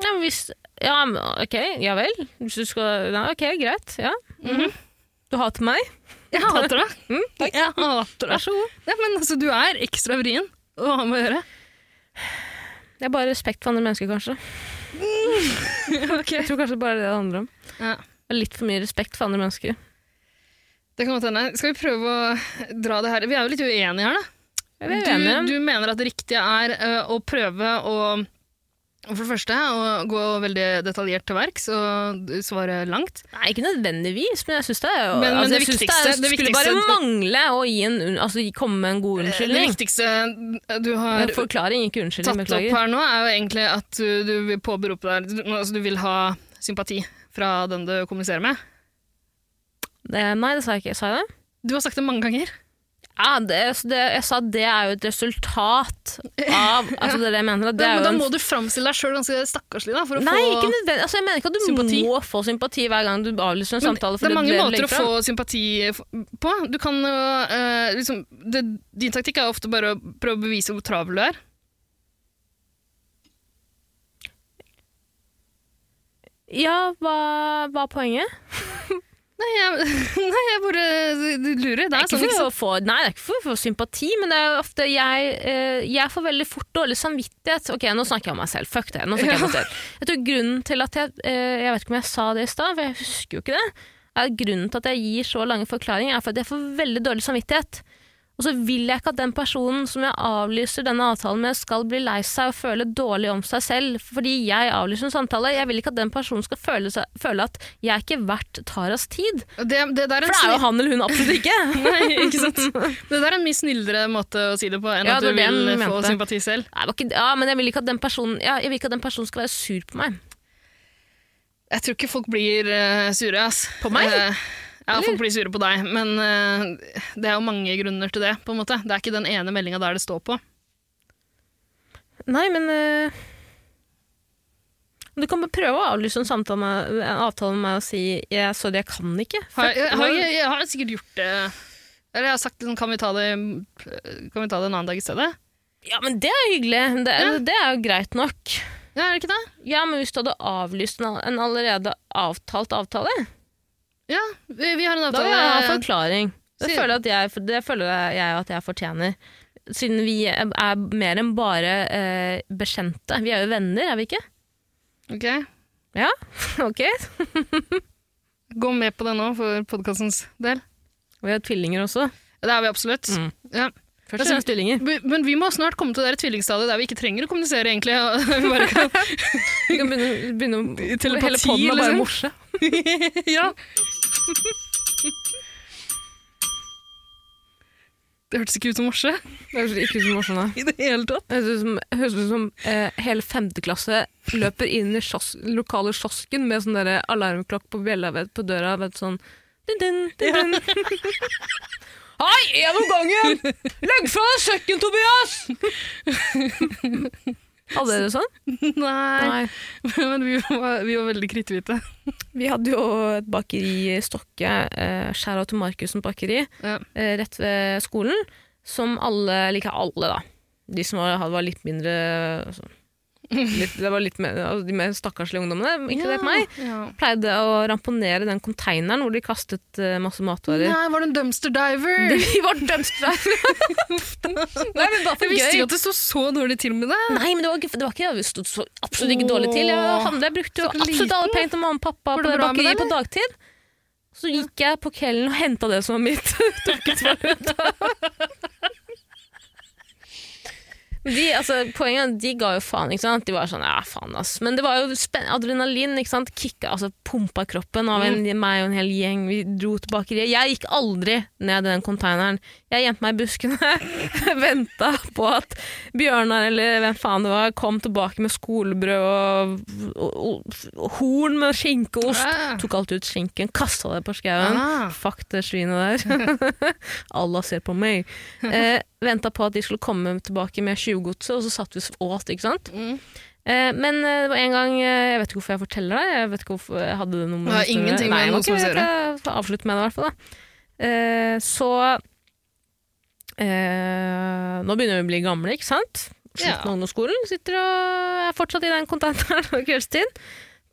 Speaker 1: Ja, men hvis, ja, men ok, ja vel. Hvis du skal, ja, ok, greit. Ja.
Speaker 2: Mhm.
Speaker 1: Mhm. Du hater meg?
Speaker 2: Jeg hater det. Jeg hater
Speaker 1: Vær
Speaker 2: det.
Speaker 1: så god.
Speaker 2: Ja, men altså, du er ekstra vrien å ha med å gjøre.
Speaker 1: Det er bare respekt for andre mennesker, kanskje. Jeg tror kanskje bare det det handler om.
Speaker 2: Ja.
Speaker 1: Det er Litt for mye respekt for andre mennesker.
Speaker 2: Det kan godt hende. Skal vi prøve å dra det her? Vi er jo litt uenige her, da.
Speaker 1: Jeg er uenig.
Speaker 2: Du, du mener at det riktige er ø, å prøve å for det første å gå veldig detaljert til verks og d- svare langt.
Speaker 1: Nei, ikke nødvendigvis, men jeg syns det er jo
Speaker 2: Men- men
Speaker 1: altså,
Speaker 2: det
Speaker 1: jeg synes
Speaker 2: viktigste-
Speaker 1: det, er,
Speaker 2: det
Speaker 1: skulle bare
Speaker 2: viktigste- Eh,
Speaker 1: mangle å gi en, unn- altså, komme med en god
Speaker 2: Det
Speaker 1: unnskyldning.
Speaker 2: viktigste du har
Speaker 1: En forklaring, ikke unnskyldning.
Speaker 2: tatt opp
Speaker 1: Beklager.
Speaker 2: her nå, er jo egentlig at du, du vil påberope deg du, altså du vil ha sympati fra den du kommuniserer med.
Speaker 1: Det, nei, det sa jeg ikke. Sa jeg det?
Speaker 2: Du har sagt det mange ganger.
Speaker 1: Ja, det, så det, jeg sa det er jo et resultat av altså, Det er det jeg mener. at Det er
Speaker 2: Men
Speaker 1: jo
Speaker 2: da
Speaker 1: en
Speaker 2: må du framstille deg sjøl ganske stakkarslig, da, for å
Speaker 1: Nei,
Speaker 2: få
Speaker 1: ikke nødvendig. Altså, jeg mener ikke at du
Speaker 2: Sympati.
Speaker 1: må få sympati hver gang du avlyser en
Speaker 2: Men
Speaker 1: samtale.
Speaker 2: det er
Speaker 1: fordi
Speaker 2: mange
Speaker 1: du
Speaker 2: måter
Speaker 1: legger
Speaker 2: å
Speaker 1: fram.
Speaker 2: få sympati f- på. Du kan jo eh, liksom, det, Din taktikk er ofte bare å prøve å bevise hvor travel du er.
Speaker 1: Ja, hva hva er poenget?
Speaker 2: Nei, jeg, nei, jeg bare du lurer.
Speaker 1: Det
Speaker 2: Det er,
Speaker 1: er ikke
Speaker 2: sånn, ikke
Speaker 1: for
Speaker 2: sant?
Speaker 1: å få, nei, det er ikke for å få sympati, men det er jo ofte jeg, eh, jeg får veldig fort dårlig samvittighet. Ok, nå snakker jeg om meg selv. Fuck det. nå snakker Jeg om meg selv. Jeg tror grunnen til at jeg eh, Jeg vet ikke om jeg sa det i stad, for jeg husker jo ikke det. Er grunnen til at jeg gir så lange forklaringer, er for at jeg får veldig dårlig samvittighet. Og så vil jeg ikke at den personen som jeg avlyser denne avtalen med, skal bli lei seg og føle dårlig om seg selv fordi jeg avlyser en samtale. Jeg vil ikke at den personen skal føle, seg, føle at jeg er ikke verdt Taras tid.
Speaker 2: Det, det, der
Speaker 1: For det er
Speaker 2: er en
Speaker 1: jo
Speaker 2: snill,
Speaker 1: han eller hun absolutt ikke.
Speaker 2: nei, ikke sant? det der er en mye snillere måte å si det på enn
Speaker 1: Ja,
Speaker 2: at
Speaker 1: det var
Speaker 2: du
Speaker 1: det
Speaker 2: vil
Speaker 1: jeg
Speaker 2: få
Speaker 1: mente.
Speaker 2: sympati selv.
Speaker 1: Nei, det var ikke, ja, men jeg vil ikke at den personen, ja, jeg vil ikke at den personen skal være sur på meg.
Speaker 2: Jeg tror ikke folk blir eh, sure. Ass.
Speaker 1: På meg?
Speaker 2: Eh, ja,
Speaker 1: Eller?
Speaker 2: folk blir sure på deg, men eh, det er jo mange grunner til det. på en måte. Det er ikke den ene meldinga der det står på.
Speaker 1: Nei, men øh, Du kan bare prøve å avlyse en, samtale med, en avtale med meg og si jeg, 'sorry, jeg kan ikke'.
Speaker 2: Har,
Speaker 1: Fuck,
Speaker 2: jeg,
Speaker 1: nå-
Speaker 2: har, jeg, jeg har sikkert gjort det Eller jeg har sagt liksom, kan, vi ta det, kan vi ta det en annen dag i stedet?
Speaker 1: Ja, men det er hyggelig. Det, er-
Speaker 2: Ja.
Speaker 1: det er jo greit nok.
Speaker 2: Ja, er det ikke det?
Speaker 1: Ja, men hvis du hadde avlyst en, en allerede avtalt avtale
Speaker 2: Ja, vi, vi har en
Speaker 1: Da
Speaker 2: avtale.
Speaker 1: vil jeg ha forklaring. Det
Speaker 2: Sier-
Speaker 1: føler, jeg at jeg, det føler jeg at jeg fortjener. Siden vi er mer enn bare eh, bekjente. Vi er jo venner, er vi ikke?
Speaker 2: Ok.
Speaker 1: Ja, ok.
Speaker 2: Gå med på det nå for podkastens del.
Speaker 1: Vi har tvillinger også.
Speaker 2: Det er vi absolutt.
Speaker 1: Mm.
Speaker 2: Ja.
Speaker 1: Først og fremst tvillinger.
Speaker 2: Men men vi må snart komme til det der tvillingstadiet der vi ikke trenger å kommunisere, egentlig. og vi bare kan-
Speaker 1: Vi kan begynne, begynne
Speaker 2: Telepati,
Speaker 1: Hele podden er
Speaker 2: liksom.
Speaker 1: bare morse.
Speaker 2: ja. Det hørtes ikke ut som morse
Speaker 1: Det høres ikke ut som morse, nei.
Speaker 2: i det hele tatt.
Speaker 1: Det høres ut som, høres ut som eh, hele femteklasse løper inn i kiosk, lokale kiosken med sånn derre alarmklokk på bjella vet, på døra. Vet, sånn din, din, din, din. Hei, gjennom gangen! Legg fra deg sekken, Tobias! Hadde dere sånn?
Speaker 2: Nei, men vi var, vi var veldig kritthvite.
Speaker 1: Vi hadde jo et bakeri i Stokke, eh, skjæra til Markussen bakeri,
Speaker 2: Ja.
Speaker 1: eh, rett ved skolen, som alle, eller ikke alle da, de som var, var litt mindre, altså, litt, det var litt mer, altså, de mer stakkarslige ungdommene, ikke det meg,
Speaker 2: Ja.
Speaker 1: pleide å ramponere den konteineren hvor de kastet eh, masse matvarer.
Speaker 2: Nei, var det en dumpster diver?
Speaker 1: De var dumpster Nei, men bare
Speaker 2: jeg
Speaker 1: for
Speaker 2: visste
Speaker 1: gøy.
Speaker 2: jo at det sto så dårlig til med det.
Speaker 1: Nei, men det var, ikke- det var ikke det stod så absolutt ikke dårlig til. Jeg,
Speaker 2: Åh.
Speaker 1: handlet, jeg brukte jo
Speaker 2: Så liten.
Speaker 1: absolutt alle pengene til mamma og pappa
Speaker 2: Var
Speaker 1: på
Speaker 2: det
Speaker 1: det
Speaker 2: bra med
Speaker 1: bakeriet
Speaker 2: det,
Speaker 1: på dagtid. Så gikk jeg på kvelden og henta det som var mitt. Tok ut valuta. Men De, altså, poenget er at de ga jo faen. ikke sant? De var sånn, ja faen ass. Men det var jo spen adrenalin. ikke sant? Kicka, altså Pumpa kroppen av en, meg og en hel gjeng. Vi dro til bakeriet. Jeg gikk aldri ned i den konteineren. Jeg gjemte meg i buskene. Venta på at Bjørnar eller hvem faen det var, kom tilbake med skolebrød og, og, og, og horn med skinkeost.
Speaker 2: Ah.
Speaker 1: Tok alt ut skinken, kasta det på skauen.
Speaker 2: Ah.
Speaker 1: Fuck det svinet der. Allah ser på meg. Eh, Venta på at de skulle komme tilbake med tjuvgodset, og så satt vi og åt, ikke sant.
Speaker 2: Mm.
Speaker 1: Eh, men eh, det var en gang eh, Jeg vet ikke hvorfor jeg forteller det. Jeg vet ikke hvorfor jeg hadde det noe
Speaker 2: Det har
Speaker 1: historie-
Speaker 2: ingenting med
Speaker 1: Nei, det var
Speaker 2: noe som
Speaker 1: ikke-
Speaker 2: helst å
Speaker 1: Jeg skal avslutte med det, i hvert fall. Da. Eh, så eh, Nå begynner vi å bli gamle, ikke sant? Slutten av
Speaker 2: Ja.
Speaker 1: ungdomsskolen. Sitter og er fortsatt i den konteineren på kveldstid.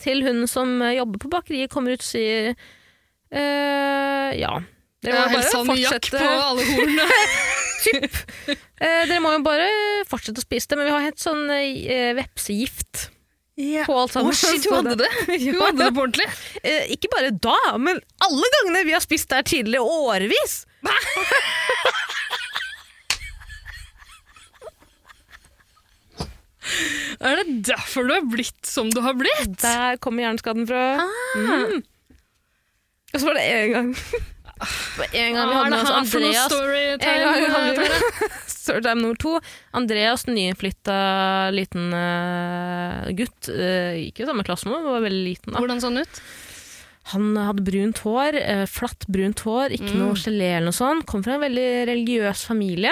Speaker 1: Til hun som eh, jobber på bakeriet, kommer ut og sier eh, Ja. Dere
Speaker 2: Ja,
Speaker 1: må
Speaker 2: helt
Speaker 1: bare
Speaker 2: sånn jakk
Speaker 1: fortsette
Speaker 2: på alle hornene.
Speaker 1: eh, Dere må jo bare fortsette å spise det, men vi har helt sånn eh, vepsegift på alt
Speaker 2: Å,
Speaker 1: sammen.
Speaker 2: shit, hun
Speaker 1: Så
Speaker 2: hadde det! Hun hadde det på ordentlig.
Speaker 1: Eh, ikke bare da, men alle gangene vi har spist der tidligere, årevis.
Speaker 2: Er det derfor du har blitt som du har blitt?
Speaker 1: Der kommer hjerneskaden fra. Mm. Og så var det én gang. Ah, Det var én
Speaker 2: Ah,
Speaker 1: gang vi hadde med oss Andreas. En gang hadde
Speaker 2: Andreas.
Speaker 1: vi Storytime nummer to. Andreas, nyinnflytta liten eh, gutt. eh, ikke i samme klasse, men var veldig liten. da.
Speaker 2: Hvordan så han ut?
Speaker 1: Han hadde brunt hår, eh, flatt brunt hår, ikke noe gelé eller noe sånt. Kom fra en veldig religiøs familie.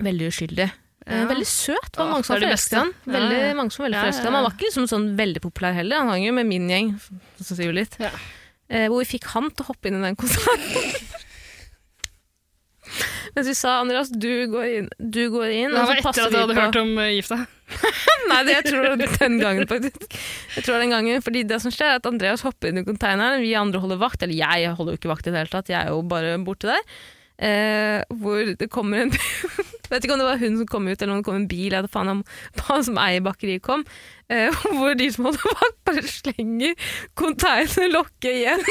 Speaker 1: Veldig uskyldig. Eh,
Speaker 2: Ja.
Speaker 1: Veldig søt. var
Speaker 2: Åh,
Speaker 1: mange som
Speaker 2: det
Speaker 1: var
Speaker 2: er det
Speaker 1: forelsket i han.
Speaker 2: beste. Ja,
Speaker 1: Veldig,
Speaker 2: ja.
Speaker 1: mange som var veldig
Speaker 2: Ja, ja,
Speaker 1: forelsket i han. Han var ikke liksom sånn veldig populær heller. Han hang jo med min gjeng, så sier vi litt.
Speaker 2: Ja.
Speaker 1: Eh, hvor vi fikk han til å hoppe inn i den konserten. Mens vi sa Andreas, du går inn. Du går inn
Speaker 2: Det
Speaker 1: og så
Speaker 2: var etter
Speaker 1: passer
Speaker 2: at
Speaker 1: vi
Speaker 2: jeg
Speaker 1: på-
Speaker 2: hadde hørt om eh, gifta.
Speaker 1: Nei, det jeg tror det var den gangen faktisk. Jeg tror det var den gangen, fordi det som skjer er at Andreas hopper inn i konteineren, vi andre holder vakt, eller jeg holder jo ikke vakt i det hele tatt, jeg er jo bare borte der. Eh, hvor det kommer en Vet ikke om det var hun som kom ut, eller om det kom en bil, eller faen om han som eier bakeriet kom. Eh, hvor de som holder vakt, bare slenger konteinerlokket igjen.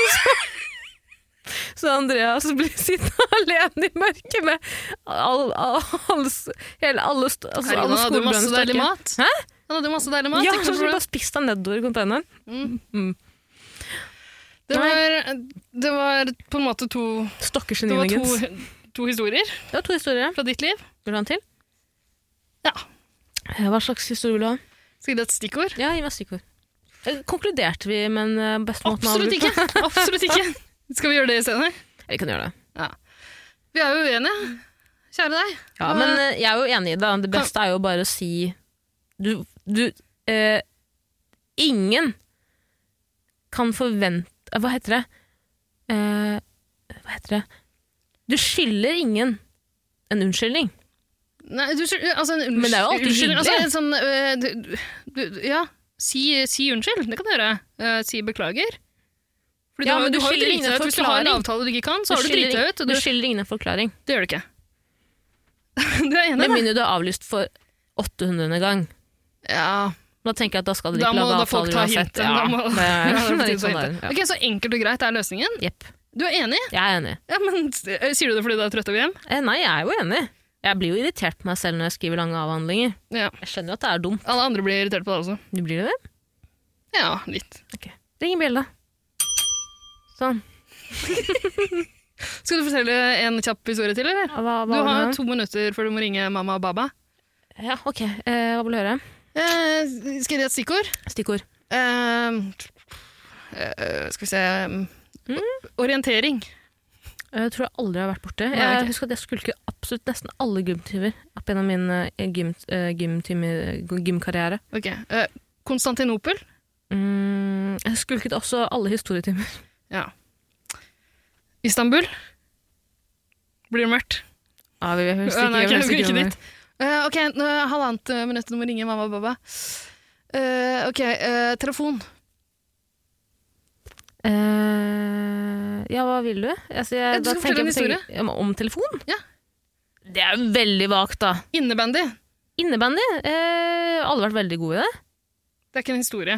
Speaker 1: Så, så Andreas blir sittende alene i mørket med all, all, all, hele, alle, st- altså,
Speaker 2: Herregud,
Speaker 1: alle
Speaker 2: han hadde jo masse
Speaker 1: skolebrannstokker.
Speaker 2: deilig mat.
Speaker 1: Hæ?
Speaker 2: Han hadde jo masse deilig mat.
Speaker 1: Ja, så Mm.
Speaker 2: ikke noe
Speaker 1: skulle
Speaker 2: problem.
Speaker 1: bare spist deg nedover konteineren.
Speaker 2: det, var, eh, det var på en måte to,
Speaker 1: Stakkars
Speaker 2: det var
Speaker 1: Ninigens.
Speaker 2: to, to historier
Speaker 1: Det var to historier.
Speaker 2: fra ditt liv.
Speaker 1: Vil du ha en til?
Speaker 2: Ja.
Speaker 1: Eh, Hva slags historie vil du ha?
Speaker 2: Skal jeg gi deg et stikkord?
Speaker 1: Ja, gi meg stikkord. Eh, Konkluderte vi med en eh, best måte å
Speaker 2: Absolutt
Speaker 1: avslutte
Speaker 2: ikke. Absolutt ikke. Skal vi gjøre det senere?
Speaker 1: på? Vi kan gjøre det.
Speaker 2: Vi er jo uenige. Kjære deg.
Speaker 1: Ja,
Speaker 2: Hva-
Speaker 1: men eh, jeg er jo enig i det. Det beste er jo bare å si Du, du eh, Ingen kan forvente eh, Hva heter det? Eh, hva heter det? Du skylder ingen en unnskyldning.
Speaker 2: Nei, du, skyld- altså, en unnskyld,
Speaker 1: Men det er jo alltid
Speaker 2: unnskyld,
Speaker 1: hyggelig.
Speaker 2: Altså, en sånn, øh, du, du, ja, si, si unnskyld, det kan du gjøre. Eh, si beklager. Eh, Fordi
Speaker 1: Ja,
Speaker 2: du har,
Speaker 1: men
Speaker 2: du
Speaker 1: du
Speaker 2: har jo
Speaker 1: skiller
Speaker 2: driti deg
Speaker 1: ikke
Speaker 2: ut. Hvis du har en
Speaker 1: forklaring.
Speaker 2: avtale du ikke kan, så har du driti deg ut. Og
Speaker 1: Du
Speaker 2: du,
Speaker 1: skylder ingen en forklaring.
Speaker 2: det gjør du ikke. du er enig,
Speaker 1: Med
Speaker 2: da?
Speaker 1: mindre du har avlyst for 800. gang.
Speaker 2: Ja,
Speaker 1: Da tenker jeg at da skal dere
Speaker 2: da
Speaker 1: ikke
Speaker 2: må
Speaker 1: lage
Speaker 2: da folk
Speaker 1: avtaler
Speaker 2: ta
Speaker 1: uansett.
Speaker 2: hintet.
Speaker 1: Ja,
Speaker 2: Da må-
Speaker 1: det er-
Speaker 2: Ja,
Speaker 1: det er
Speaker 2: litt
Speaker 1: litt sånn der.
Speaker 2: hint. Ok, Så enkelt og greit er løsningen?
Speaker 1: Jepp.
Speaker 2: Du er enig?
Speaker 1: Jeg er enig.
Speaker 2: Ja, men eh, Sier du det fordi du er trøtt av hjem?
Speaker 1: Eh, Nei, jeg er jo enig. Jeg blir jo irritert på meg selv når jeg skriver lange avhandlinger.
Speaker 2: Ja.
Speaker 1: Jeg skjønner jo at det er dumt.
Speaker 2: Alle andre blir irritert på deg også.
Speaker 1: Du blir det?
Speaker 2: Ja, litt.
Speaker 1: Ok. Ring en bjelle. Sånn.
Speaker 2: Skal du fortelle en kjapp historie til, eller?
Speaker 1: Hva, hva
Speaker 2: Du
Speaker 1: var det
Speaker 2: har
Speaker 1: nå?
Speaker 2: to minutter før du må ringe mamma og baba.
Speaker 1: Ja, ok. Eh, hva vil du høre?
Speaker 2: Eh, skal jeg gi et stikkord?
Speaker 1: Stikkord.
Speaker 2: Eh, eh, skal vi se
Speaker 1: Mm.
Speaker 2: O- Orientering.
Speaker 1: Jeg Eh, tror jeg aldri har vært borte.
Speaker 2: Nei, ok.
Speaker 1: Jeg husker at jeg skulker absolutt nesten alle gymtimer opp gjennom min eh, gym, eh, gymtimer- gymkarriere.
Speaker 2: Ok. Eh, Konstantinopel.
Speaker 1: Mm, jeg skulket også alle historietimer.
Speaker 2: Ja. Istanbul. Blir det mørkt?
Speaker 1: Ja, vi vil helst
Speaker 2: Ja, nei,
Speaker 1: ikke, vi vil helst
Speaker 2: ok,
Speaker 1: ikke,
Speaker 2: ikke
Speaker 1: gjøre
Speaker 2: dit.
Speaker 1: det.
Speaker 2: Eh, ok, nå er det halvannet eh, minutt, du må ringe mamma og baba. Eh, ok, eh, telefon.
Speaker 1: Eh, ja, hva vil du? Altså, jeg,
Speaker 2: Ja, du
Speaker 1: da tenker
Speaker 2: skal fortelle en
Speaker 1: jeg på ting- Ja, men om telefon?
Speaker 2: Ja.
Speaker 1: Det er jo veldig vagt, da.
Speaker 2: Innebandy.
Speaker 1: Innebandy? Eh, alle har vært veldig gode i det.
Speaker 2: Det er ikke en historie.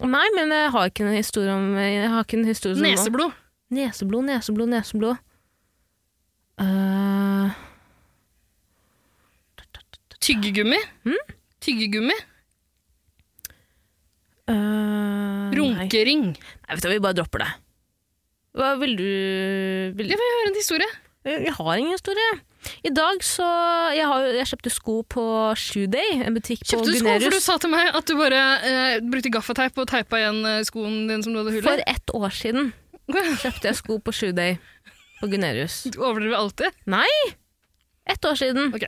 Speaker 1: Nei, men jeg har ikke en historie om jeg har ikke en historie som
Speaker 2: Neseblod.
Speaker 1: Neseblod, neseblod, neseblod. Eh,
Speaker 2: Tyggegummi.
Speaker 1: Hm?
Speaker 2: Tyggegummi.
Speaker 1: eh, Nei.
Speaker 2: Runkering.
Speaker 1: Nei, vet du, hva, vi bare dropper det. Hva vil du vil,
Speaker 2: Jeg vil høre en historie.
Speaker 1: Jeg jeg har ingen historie. I dag så Jeg, har, jo- jeg kjøpte sko på Shoeday, en butikk på
Speaker 2: Kjøpte du sko, for du
Speaker 1: Gunerius.
Speaker 2: sa til meg at du bare eh, brukte gaffateip og teipa igjen eh, skoen din som du hadde hull
Speaker 1: For
Speaker 2: i.
Speaker 1: ett år siden kjøpte jeg sko på Shoeday på Gunerius.
Speaker 2: Du overdriver alltid.
Speaker 1: Nei! Ett år siden.
Speaker 2: Ok.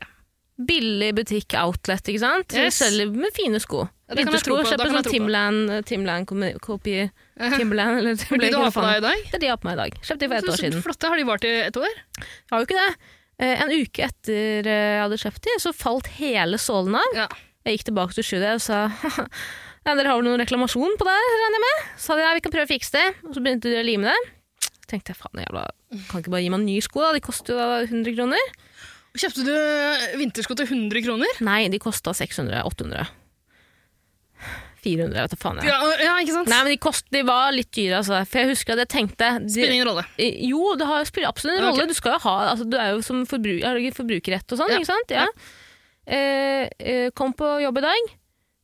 Speaker 1: Billig butikk outlet, ikke sant? Så
Speaker 2: Yes.
Speaker 1: De selger med fine sko.
Speaker 2: Ja, det kan jeg
Speaker 1: Vintersko.
Speaker 2: tro på,
Speaker 1: Kjøper
Speaker 2: da kan jeg
Speaker 1: sånn
Speaker 2: tro på.
Speaker 1: Timland- Timland-kopi. Timberland eller
Speaker 2: Fordi
Speaker 1: Timberlake.
Speaker 2: du
Speaker 1: hva
Speaker 2: har på
Speaker 1: faen.
Speaker 2: deg i dag.
Speaker 1: Det er de jeg har på meg i dag. Kjøpte de for ett år
Speaker 2: Så
Speaker 1: siden.
Speaker 2: Flotte. Har de vart i et år?
Speaker 1: Har jo ikke det. Eh, En uke etter eh, jeg hadde kjøpt de, så falt hele sålen av.
Speaker 2: Ja.
Speaker 1: Jeg gikk tilbake til studiet og sa ja, dere har vel noen reklamasjon på det, regner jeg med? Så sa de ja, vi kan prøve å fikse det. Og så begynte de å lime det. Så tenkte jeg faen, jævla, kan ikke bare gi meg nye sko, da? De koster jo da 100 kroner.
Speaker 2: Kjøpte du eh, vintersko til 100 kroner?
Speaker 1: Nei, de kosta 600-800. 400, jeg vet da faen. Jeg.
Speaker 2: Ja, ja ikke sant?
Speaker 1: Nei, men de, kost, de var litt dyre, altså. For jeg husker at jeg tenkte de,
Speaker 2: Spiller ingen rolle.
Speaker 1: Eh, Jo, det har jo spiller absolutt en
Speaker 2: Ok.
Speaker 1: rolle. Du, skal jo ha, altså, du er jo som forbru- har du ikke forbrukerrett og sånn,
Speaker 2: Ja.
Speaker 1: ikke sant? Ja. Eh, eh, kom på jobb i dag,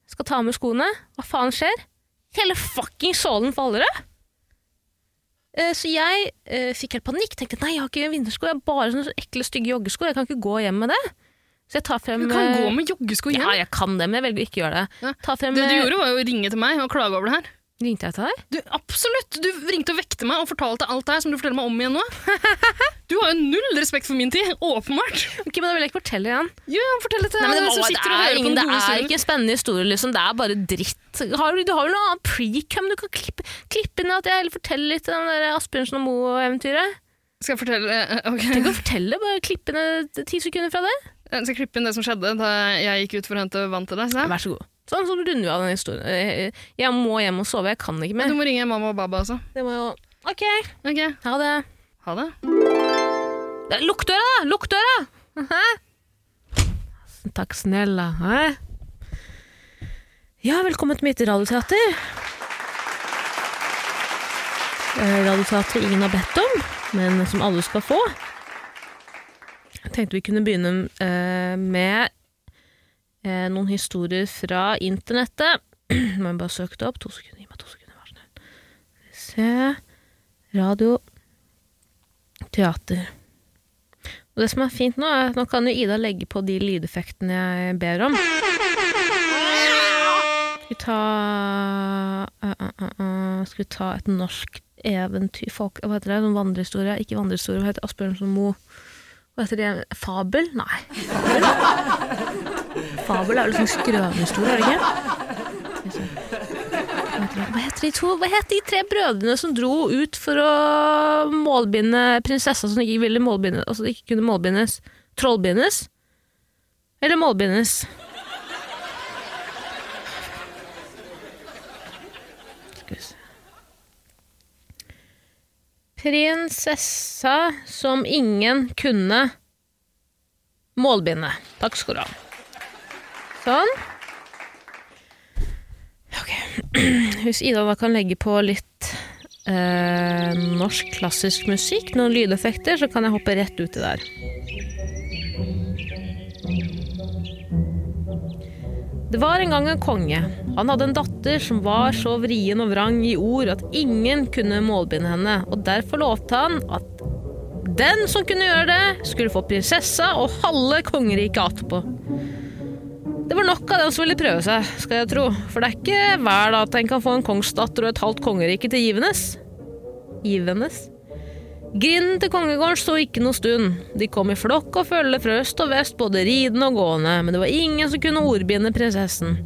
Speaker 1: skal ta med skoene. Hva faen skjer? Hele fucking sålen faller av! Eh, så jeg eh, fikk helt panikk. Tenkte nei, jeg har ikke vintersko, jeg har bare sånne ekle, stygge joggesko. Jeg kan ikke gå hjem med det. Så jeg tar frem
Speaker 2: Du kan
Speaker 1: eh,
Speaker 2: gå med joggesko igjen.
Speaker 1: Ja, jeg kan det, men jeg velger å ikke gjøre det.
Speaker 2: Ja.
Speaker 1: Ta frem,
Speaker 2: Det du
Speaker 1: eh,
Speaker 2: gjorde var jo å ringe til meg og klage over det her.
Speaker 1: Ringte jeg til deg?
Speaker 2: Du, absolutt! Du ringte og vekte meg og fortalte alt det her som du forteller meg om igjen nå. Du har jo null respekt for min tid, åpenbart.
Speaker 1: Ok, men da vil jeg ikke fortelle igjen.
Speaker 2: Jo, ja, fortell det til
Speaker 1: Nei, men det,
Speaker 2: deg som
Speaker 1: var, det,
Speaker 2: sitter og
Speaker 1: er
Speaker 2: hører på
Speaker 1: ingen, det
Speaker 2: den gode
Speaker 1: er
Speaker 2: historien.
Speaker 1: ikke en spennende historie, liksom. Det er bare dritt. Har du, du har vel noe annet precum du kan klippe, klippe inn? At jeg heller forteller litt om det der Asbjørnsen og Moe-eventyret?
Speaker 2: Skal jeg fortelle eh, ok.
Speaker 1: Du kan fortelle, bare klippe ned ti sekunder fra det.
Speaker 2: Jeg skal klippe inn det som skjedde da jeg gikk ut for å hente vann til deg. sa jeg.
Speaker 1: Vær så god. Sånn, så runder vi av den historien. Eh, Jeg må hjem og sove, jeg kan ikke
Speaker 2: Du
Speaker 1: mer.
Speaker 2: må ringe mamma og baba også.
Speaker 1: Det må jo Ok,
Speaker 2: Ok,
Speaker 1: ha det.
Speaker 2: ha det.
Speaker 1: Det er- Lukk døra, da! Lukk døra! Hæ? Takk snella. Hæ? Ja, velkommen til mitt radioteater. Eh, Radioteater ingen har bedt om, men som alle skal få. Jeg tenkte vi kunne begynne eh, med eh, noen historier fra internettet. Må jeg bare søke det opp. To sekunder, gi meg to sekunder. vær så snill. Skal vi Se. Radio. Teater. Og det som er fint nå, er at nå kan jo Ida legge på de lydeffektene jeg ber om. Skal vi ta eh, eh, eh, eh, Skal vi ta et norsk eventyr folk, Hva heter det? Noen vandrehistorie? Ikke vandrehistorie, hva heter Asbjørnsen og Moe? Hva heter det? Fabel? Nei. Fabel er vel sånn skrønehistorie, er det ikke? Skal vi se. Hva heter det? Hva heter de to? Hva heter de tre brødrene som dro ut for å målbinde prinsessa som ikke ville målbinde, altså ikke kunne målbindes? Trollbindes? Eller målbindes? Skal vi se Prinsessa som ingen kunne målbinde. Takk skal du ha. Sånn. Ok. Hvis Ida da kan legge på litt eh, norsk klassisk musikk, noen lydeffekter, så kan jeg hoppe rett uti der. Det var en gang en konge. Han hadde en datter som var så vrien og vrang i ord at ingen kunne målbinde henne, og derfor lovte han at den som kunne gjøre det, skulle få prinsessa og halve kongeriket attpå. Det var nok av dem som ville prøve seg, skal jeg tro, for det er ikke hver dag at en kan få en kongsdatter og et halvt kongerike til givenes. Givenes? Grinden til kongegården sto ikke noe stund. De kom i flokk og følge fra øst og vest, både ridende og gående, men det var ingen som kunne ordbinde prinsessen.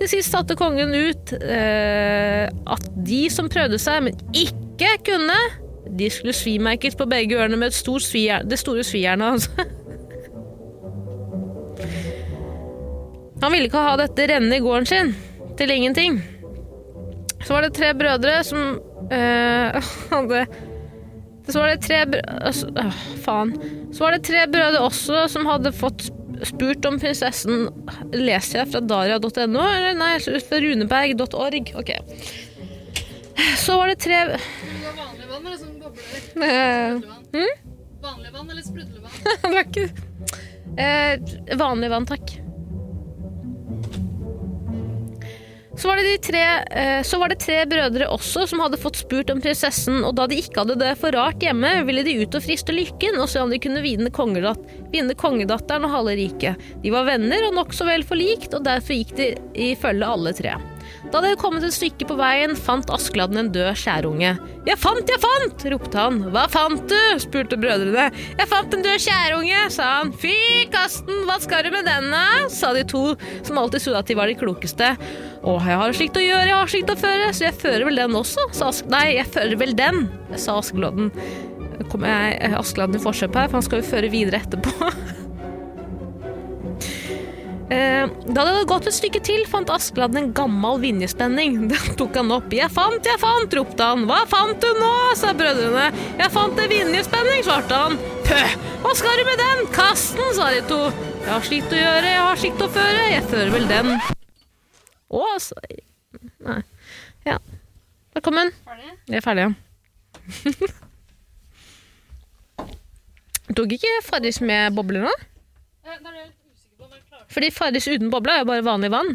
Speaker 1: Til sist satte kongen ut eh, at de som prøvde seg, men ikke kunne, de skulle svimerkes på begge ørene med et stort svijern, det store svijernet hans. Han ville ikke ha dette renne i gården sin, til ingenting. Så var det tre brødre som eh, hadde så var det tre brø- altså, åh, Faen. Så var det tre brødre også som hadde fått sp- spurt om prinsessen Leser jeg fra daria.no, eller nei, jeg leser fra runeberg.org? Ok. Så var det tre
Speaker 2: Vanlig vann eller sånn bobler?
Speaker 1: eh,
Speaker 2: Vanlig vann eller sprudlevann?
Speaker 1: Det var ikke eh, Vanlig vann, takk. Så var, det de tre, eh, så var det tre brødre også som hadde fått spurt om prinsessen, og da de ikke hadde det for rart hjemme, ville de ut og friste lykken og se om de kunne vinne, kongedat vinne kongedatteren og halve riket. De var venner og nokså vel forlikt, og derfor gikk de i følge alle tre. Da de hadde kommet et stykke på veien, fant Askeladden en død skjærunge. 'Jeg fant, jeg fant!' ropte han. 'Hva fant du?' spurte brødrene. 'Jeg fant en død skjærunge', sa han. 'Fy kasten, hva skal du med denne?' sa de to, som alltid trodde at de var de klokeste. 'Å, jeg har slikt å gjøre, jeg har slikt å føre, så jeg fører vel den også', sa Ask... Nei, jeg fører vel den, sa Askeladden. Kommer jeg eh, Askeladden i forkjøpet her, for han skal jo føre videre etterpå. Eh, Da det hadde gått et stykke til, fant Askeladden en gammel vinjespenning. Den tok han opp. 'Jeg fant, jeg fant', ropte han. 'Hva fant du nå?' sa brødrene. 'Jeg fant en vinjespenning', svarte han. 'Pøh, hva skal du med den?' 'Kast den', sa de to. 'Jeg har slikt å gjøre, jeg har slikt å føre, jeg fører vel den'. Å, altså Nei. Ja. Velkommen.
Speaker 2: Ferdig?
Speaker 1: Vi er ferdige. Tok ikke Farris med bobler nå?
Speaker 2: Det er jeg litt usikker på om jeg klarer.
Speaker 1: Fordi Farris uten boble er jo bare vanlig vann.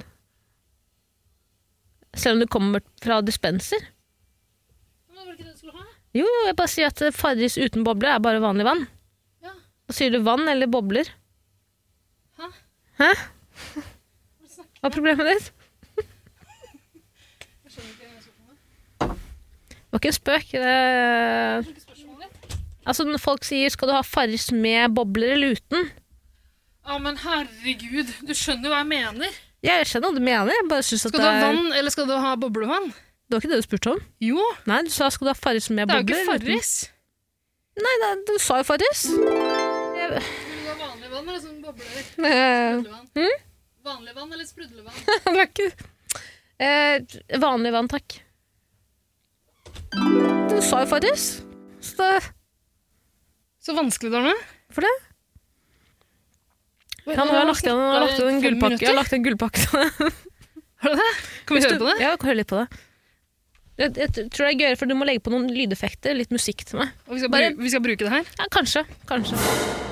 Speaker 1: Selv om det kommer fra dispenser.
Speaker 2: Men det var ikke det du skulle ha?
Speaker 1: Jo, jo, jeg bare sier at Farris uten boble er bare vanlig vann.
Speaker 2: Ja.
Speaker 1: Da sier du vann eller bobler.
Speaker 2: Hæ?
Speaker 1: Hæ?
Speaker 2: Hva snakker
Speaker 1: Hva er problemet ditt?
Speaker 2: du? Jeg skjønner ikke spørsmålet.
Speaker 1: Det var ikke en spøk. Det...
Speaker 2: Ikke spørsmålet ditt.
Speaker 1: Altså, når folk sier 'skal du ha Farris med bobler eller uten'?
Speaker 2: Ja, men herregud, du skjønner jo hva jeg mener.
Speaker 1: Jeg skjønner hva du mener. Jeg bare synes at
Speaker 2: Skal du ha
Speaker 1: det, er...
Speaker 2: vann, eller skal du ha boblevann?
Speaker 1: det var ikke det du spurte om.
Speaker 2: Jo,
Speaker 1: Nei, du sa 'skal du ha Farris med
Speaker 2: det er jo
Speaker 1: bobler'?
Speaker 2: ikke
Speaker 1: eller uten?
Speaker 2: Farris.
Speaker 1: Nei, nei, du sa jo Farris. Jeg-
Speaker 2: Vil du ha vanlig vann eller sånn bobler?
Speaker 1: Det
Speaker 2: Sprudlevann? Vanlig vann eller sprudlevann?
Speaker 1: var ikke eh, Vanlig vann, takk. Du sa jo Farris. Så det
Speaker 2: Så vanskelig, Darne.
Speaker 1: For det? Ja, nå har jeg lagt igjen, jeg har lagt igjen en gullpakke. Jeg har lagt igjen en gullpakke til deg.
Speaker 2: Har du det? Kan vi
Speaker 1: Hvis
Speaker 2: høre
Speaker 1: du-
Speaker 2: på det?
Speaker 1: Ja, hør litt på det. Jeg, jeg tror det er gøyere, for du må legge på noen lydeffekter, litt musikk til meg.
Speaker 2: Og vi skal,
Speaker 1: Bare-
Speaker 2: bruke, vi skal bruke det her?
Speaker 1: Ja, kanskje. Kanskje.